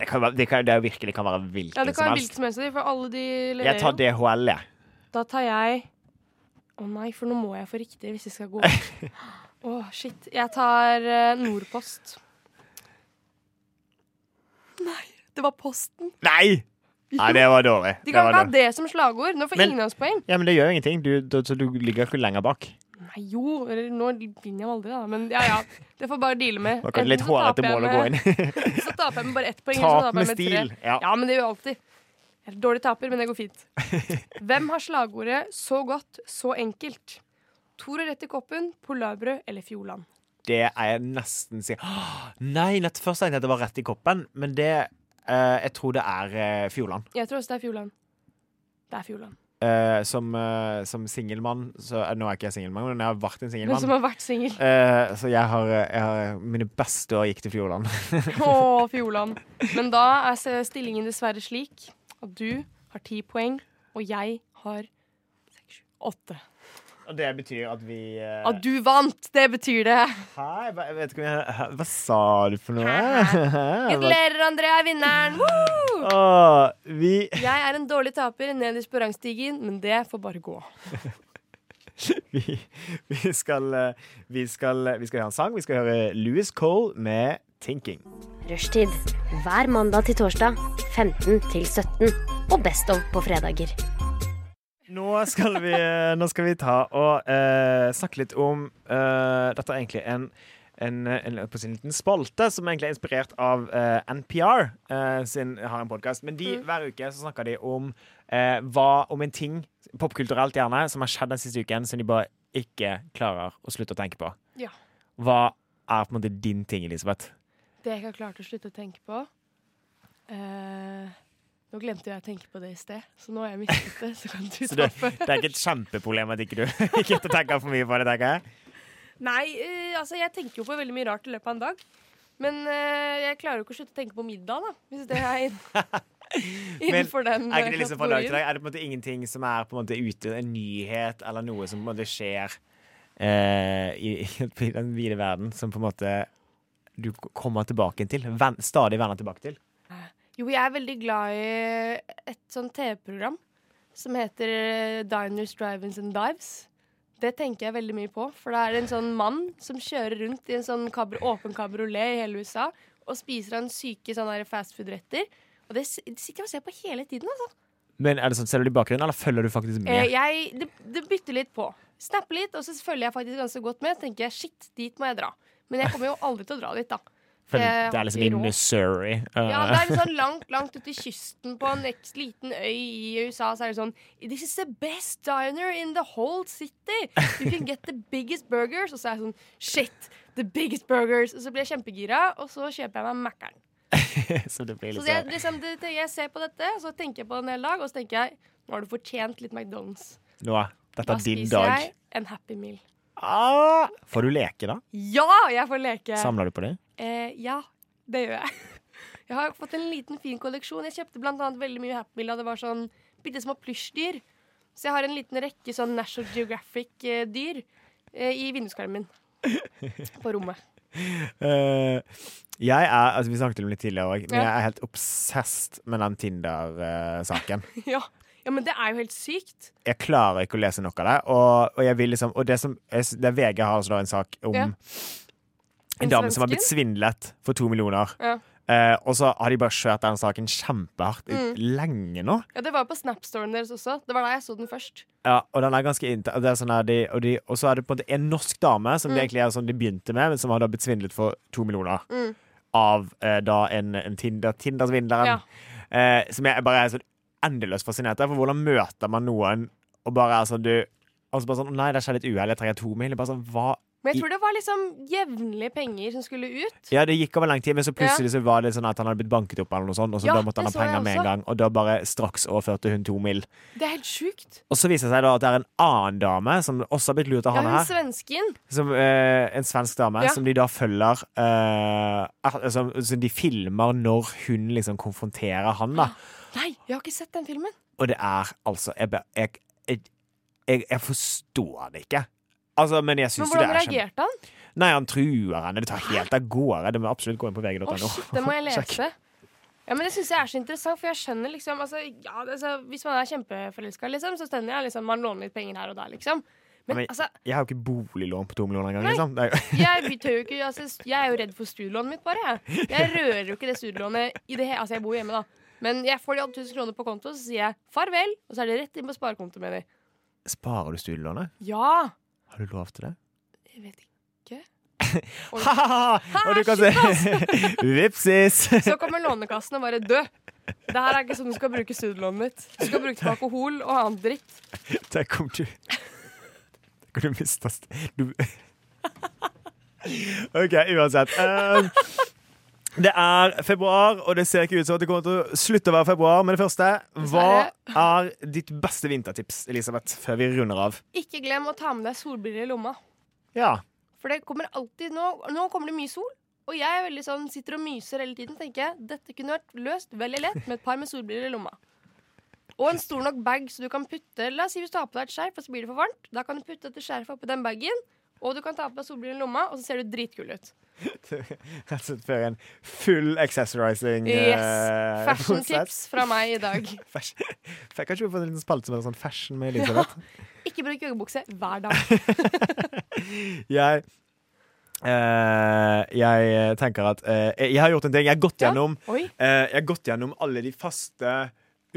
C: Det, kan være, det, kan, det virkelig kan være hvilken
A: Ja, det kan
C: som
A: være
C: helst.
A: hvilken som helst av de, for alle de
C: Jeg tar
A: leverer. jo.
C: DHL, jeg.
A: Da tar jeg Å nei, for nå må jeg få riktig hvis jeg skal gå. Å, shit. Jeg tar eh, Nordpost. Nei, det var Posten.
G: Nei! Nei, det var dårlig.
A: De
G: Det
A: kan
G: var
A: ikke ha
G: dårlig.
A: det som slagord. Nå får
G: Men-
A: ingen av oss poeng.
G: Ja, men det gjør jo ingenting. Du, du, så du ligger ikke lenger bak.
A: Nei jo, eller nå vinner jeg jo aldri, da. Men ja ja. Det får bare deale med.
G: Nå kan det litt
A: Enten så
G: hårete
A: taper jeg
G: mål å
A: med-
G: gå inn.
A: Så taper jeg med bare ett poeng. eller så
G: Tap
A: taper jeg
G: med
A: tre.
G: stil. Ja.
A: Ja, men det gjør jeg alltid. Jeg er dårlig taper, men det går fint. Hvem har slagordet 'så godt, så enkelt'? Tor og rett i koppen, polarbrød eller Fjordland?
C: Det er jeg nesten sikker Åh, Nei, nett først tenkte jeg at det var rett i koppen, men det eh, Jeg tror det er eh, Fjordland.
A: Jeg tror også det er Fjordland. Det er Fjordland.
C: Eh, som eh, som singelmann så eh, Nå er ikke jeg singelmann, men jeg har vært en
A: Men som
C: singelmann.
A: har vært singel.
C: Eh, så jeg har, eh, jeg har Mine beste år gikk til Fjordland.
A: Å, Fjordland. Men da er s- stillingen dessverre slik at du har ti poeng, og jeg har seks, sju, åtte.
C: Eh. Og det betyr at vi eh,
A: At du vant! Det betyr det.
C: Hæ? Jeg ba- jeg vet ikke om jeg Hæ? Hva sa du for noe?
A: Hæ,
C: Hæ?
A: Gratulerer, Andrea, vinneren! Woo!
C: Åh, vi
A: Jeg er en dårlig taper nederst på rangstigen, men det får bare gå.
C: vi, vi, skal, eh, vi, skal, vi skal høre en sang. Vi skal høre Louis Cole med 'Thinking'.
I: Rushtid. Hver mandag til torsdag 15 til 17. Og Best of på fredager.
C: Nå skal vi, eh, nå skal vi ta og eh, snakke litt om eh, Dette er egentlig en en, en, på sin liten spalte som egentlig er inspirert av eh, NPR. eh, sin har en podkast. Men de, hver uke så snakker de om eh, hva om en ting, popkulturelt gjerne, som har skjedd den siste uken, som de bare ikke klarer å slutte å tenke på.
A: Ja.
C: Hva er på en måte din ting, Elisabeth?
A: Det jeg ikke har klart å slutte å tenke på eh, Nå glemte jeg å tenke på det i sted, så nå har jeg mistet det. Så kan du
C: Så
A: ta
C: det, det er ikke et kjempeproblem at ikke du ikke tenker for mye på det, tenker jeg.
A: Nei, eh, altså jeg tenker jo på veldig mye rart i løpet av en dag. Men eh, jeg klarer jo ikke å slutte å tenke på middag, da. Hvis det er inn, innenfor den eh,
C: Er ikke det liksom fra dag til
A: kategorien.
C: dag? Er det på en måte ingenting som er på en måte ute, en nyhet eller noe som på en måte skjer eh, i, i den vide verden, som på en måte du kommer tilbake til? Ven, stadig vender tilbake til?
A: Jo, jeg er veldig glad i et sånt TV-program som heter eh, Diners, Drive-ins and Dives. Det tenker jeg veldig mye på, for det er en sånn mann som kjører rundt i en sånn kabr åpen kabriolet i hele USA og spiser han syke sånn sånne fastfood-retter. Og det s- sitter jeg og ser på hele tiden. altså.
C: Men er det sånn, Ser du i bakgrunnen, eller følger du faktisk
A: Eh,
C: med?
A: jeg, det, det bytter litt på. Snapper litt, og så følger jeg faktisk ganske godt med. Så tenker jeg, shit, dit må jeg dra. Men jeg kommer jo aldri til å dra dit, da.
C: For
A: jeg
C: det er liksom
A: har
C: i
A: ikke råd.
C: Missouri. eh,
A: eh, Ja, det er litt sånn langt, langt ute i kysten på en eks- liten øy i USA, så er det sånn This is the best diner in the whole city. You can get the biggest burgers. Og så er jeg sånn Shit, the biggest burgers. Og så blir jeg kjempegira, og så kjøper jeg meg Mækkern.
C: så det blir
A: Så
C: liksom
A: jeg, liksom, det, det- jeg ser på dette, og så tenker jeg på det en hel dag, og så tenker jeg Nå har du fortjent litt McDonald's.
C: Nå, dette
A: Da
C: er din
A: spiser
C: dag.
A: jeg en Happy Meal.
C: Ah, får du leke, da?
A: Ja, jeg får leke.
C: Samler du på det?
A: Eh, ja, det gjør jeg. Jeg har fått en liten fin kolleksjon. Jeg kjøpte blant annet veldig mye Happy Meal, og det var sånn bitte små plysjdyr. Så jeg har en liten rekke sånn National Geographic-dyr eh, i vinduskarmen min. På rommet.
C: Eh, jeg er, altså Vi snakket om det litt tidligere òg,
A: Ja.
C: men eh, jeg er helt obsessed med den Tinder-saken.
A: Ja. Ja, men det er jo helt sykt.
C: jeg klarer ikke å lese nok av det. Og, og jeg vil liksom Og det som det er VG har altså da en sak om
A: Ja.
C: en
A: En
C: dame som har
A: svensken?
C: blitt svindlet for to millioner.
A: Ja.
C: Eh, og så har de bare kjørt den saken kjempehardt i-
A: Mm.
C: lenge nå.
A: Ja, det var på Snap-storen deres også. Det var da jeg så den først.
C: Ja, og den er ganske innta- det er sånn her, de, og, de, og så er det på en måte en norsk dame som det
A: Mm.
C: egentlig er sånn de begynte med, men som har da blitt svindlet for to millioner.
A: Mm.
C: Av eh, da en, en Tinder, Tinder-svindleren.
A: Ja.
C: Eh, som jeg bare er sånn endeløst fascinert av. For hvordan møter man noen og bare er sånn du og så bare sånn, Nei, det skjedde et uhell. Jeg trenger to mil. Bare sånn, hva?
A: Men jeg tror det var liksom jevnlige penger som skulle ut.
C: Ja, Det gikk over lang tid, men så plutselig så var det sånn at han hadde blitt banket opp, eller noe sånt, og så
A: Ja,
C: da måtte
A: det
C: han ha
A: så jeg
C: penger med en
A: også.
C: gang. Og da bare straks overførte hun to mil.
A: Det er helt sjukt.
C: Og så viser det seg da at det er en annen dame som også har blitt lurt av
A: Ja,
C: han
A: hun
C: her.
A: svensken.
C: Som, eh, en svensk dame
A: Ja.
C: som de da følger eh, al- som, som de filmer når hun liksom konfronterer han, da.
A: Nei, jeg har ikke sett den filmen.
C: Og det er altså Jeg, be- jeg, jeg, jeg, jeg forstår det ikke. Altså, men jeg
A: Men
C: syns jo det
A: hvordan
C: er kjempe...
A: reagerte han?
C: Nei, han truer henne. Det tar helt av gårde. Det må absolutt gå inn på
A: Å,
C: vg.no.
A: shit, det må jeg
C: Sjekk.
A: lese. Ja, men Det syns jeg er så interessant, for jeg skjønner liksom altså, ja, altså, Hvis man er kjempeforelska, liksom, så skjønner jeg liksom man låner litt penger her og der, liksom. Men,
C: Men-
A: altså,
C: Jeg har jo ikke boliglån på to millioner engang. Liksom. Det er jo-
A: jeg tør jo ikke altså, Jeg er jo redd for studielånet mitt, bare. Jeg Jeg rører jo ikke det studielånet i det hele Altså, jeg bor hjemme, da. Men jeg får de 8000 kroner på konto, så sier jeg farvel, og så er det rett inn på sparekontoen min.
C: Sparer du studielånet?
A: Ja!
C: Har du lov til det?
A: Jeg vet ikke. Oi.
C: Ha-ha! Og du kan se Vipsis!
A: Så kommer Lånekassen og bare dø. Det her er ikke sånn du skal bruke studielånet mitt. Du skal bruke det på alkohol og annen dritt.
C: Tenk om du Tenk om du mister st- du... OK, uansett. Um, det er februar, og det ser ikke ut som at det kommer til å slutte å være februar. Men det første, hva er ditt beste vintertips, Elisabeth, før vi runder av?
A: Ikke glem å ta med deg solbriller i lomma.
C: Ja.
A: For det kommer alltid nå, nå kommer det mye sol, og jeg er veldig sånn, sitter og myser hele tiden. tenker jeg, Dette kunne vært løst veldig lett med et par med solbriller i lomma. Og en stor nok bag så du kan putte La oss si hvis du har på deg et skjerf, og så blir det for varmt. Da kan du putte dette skjerfet oppi den bagen, og du kan ta på deg solbriller i lomma, og så ser du dritkul ut.
C: Rett og slett før en full accessorizing. eh,
A: Yes. Fashion
C: prosess.
A: tips fra meg i dag.
C: Fashion- Fikk kanskje vi få en liten spalte som er sånn fashion med Elisabeth?
A: Ikke bruk joggebukse hver dag.
C: Jeg eh, Jeg tenker at eh, Jeg har gjort en ting. Jeg har gått
A: Ja.
C: gjennom
A: Oi.
C: Eh, Jeg har gått gjennom alle de faste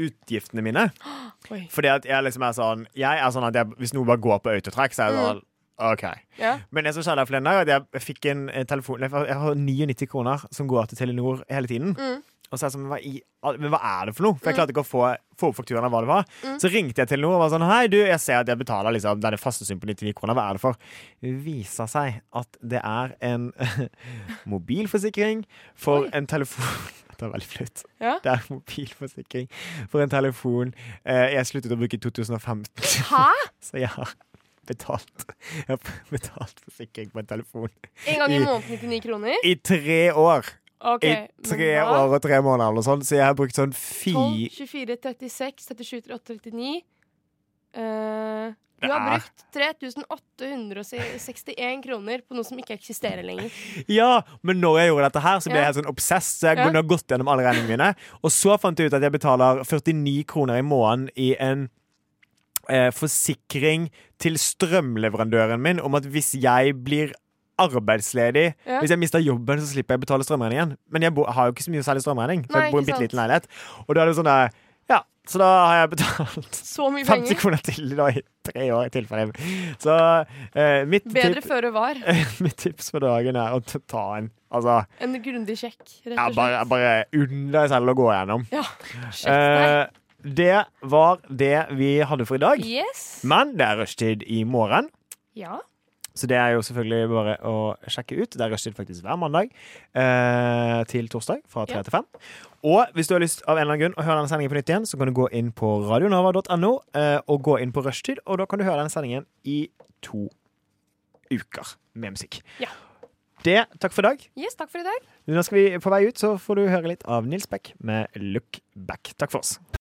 C: utgiftene mine.
A: Oi.
C: Fordi at jeg liksom er sånn Jeg er sånn at jeg, Hvis noen bare går på autotrekk, så er jeg sånn OK.
A: Mm. Ja.
C: Men det som skjedde her forleden dag, er at jeg fikk en eh, telefon Jeg har- jeg har 99 kroner som går til Telenor hele tiden.
A: Mm.
C: Og så er jeg sånn, hva i, all- men hva er det for noe? For jeg klarte ikke å få, få opp fakturaen av hva det var.
A: Mm.
C: Så ringte jeg Telenor og var sånn Hei, du, jeg ser at jeg betaler liksom, denne faste summen på 99 kroner. Hva er det for? Det viser seg at det er en mobilforsikring for en telefon Det er veldig flaut.
A: Ja.
C: Det er mobilforsikring for en telefon eh, jeg sluttet å bruke i 2015.
A: Hæ?
C: Så jeg har betalt, jeg har betalt forsikring på en telefon
A: En gang i måneden 99 kroner?
C: i tre år.
A: Ok,
C: I tre
A: men hva?
C: år og tre måneder eller noe sånt, så jeg har brukt sånn fi...
A: 12, 24, 36, 37, 38, 39. Eh, du har
C: Det er-
A: brukt 3861 kroner på noe som ikke eksisterer lenger.
C: Ja, men når jeg gjorde dette her, så ble jeg
A: Ja.
C: helt sånn obsess, så jeg
A: Ja.
C: kunne ha gått gjennom alle regningene mine. Og så fant jeg ut at jeg betaler 49 kroner i måneden i en eh, forsikring til strømleverandøren min om at hvis jeg blir arbeidsledig,
A: Ja.
C: hvis jeg mister jobben, så slipper jeg å betale strømregningen. Men jeg bo, har jo ikke så mye særlig strømregning, for
A: Nei,
C: jeg bor i
A: ikke
C: en bitte
A: sant.
C: liten leilighet. Og da er det sånn der, ja, så da har jeg betalt
A: Så mye
C: 50
A: penger.
C: kroner til da i tre år i tilfelle. Så eh, mitt
A: Bedre
C: tipp-
A: føre var
C: Mitt tips for dagen er å t- ta en Altså,
A: enn grundig sjekk. Rett
C: ja,
A: og
C: bare,
A: slett.
C: bare unn deg selv å gå gjennom.
A: Ja, sjekk
C: Eh, det var det vi hadde for i dag.
A: deg. Yes.
C: Men det er rushtid i morgen,
A: Ja.
C: så det er jo selvfølgelig bare å sjekke ut. Det er rushtid faktisk hver mandag eh, til torsdag fra
A: Ja.
C: 3 til 5. Og hvis du har lyst av en eller annen grunn å høre denne sendingen på nytt igjen, så kan du gå inn på radionova.no eh, og gå inn på rushtid, og da kan du høre denne sendingen i to uker med musikk.
A: Ja.
C: Det, takk for i dag.
A: Yes, takk for i dag.
C: Nå skal vi på vei ut, så får du høre litt av Nils Beck med Look Back. Takk for oss.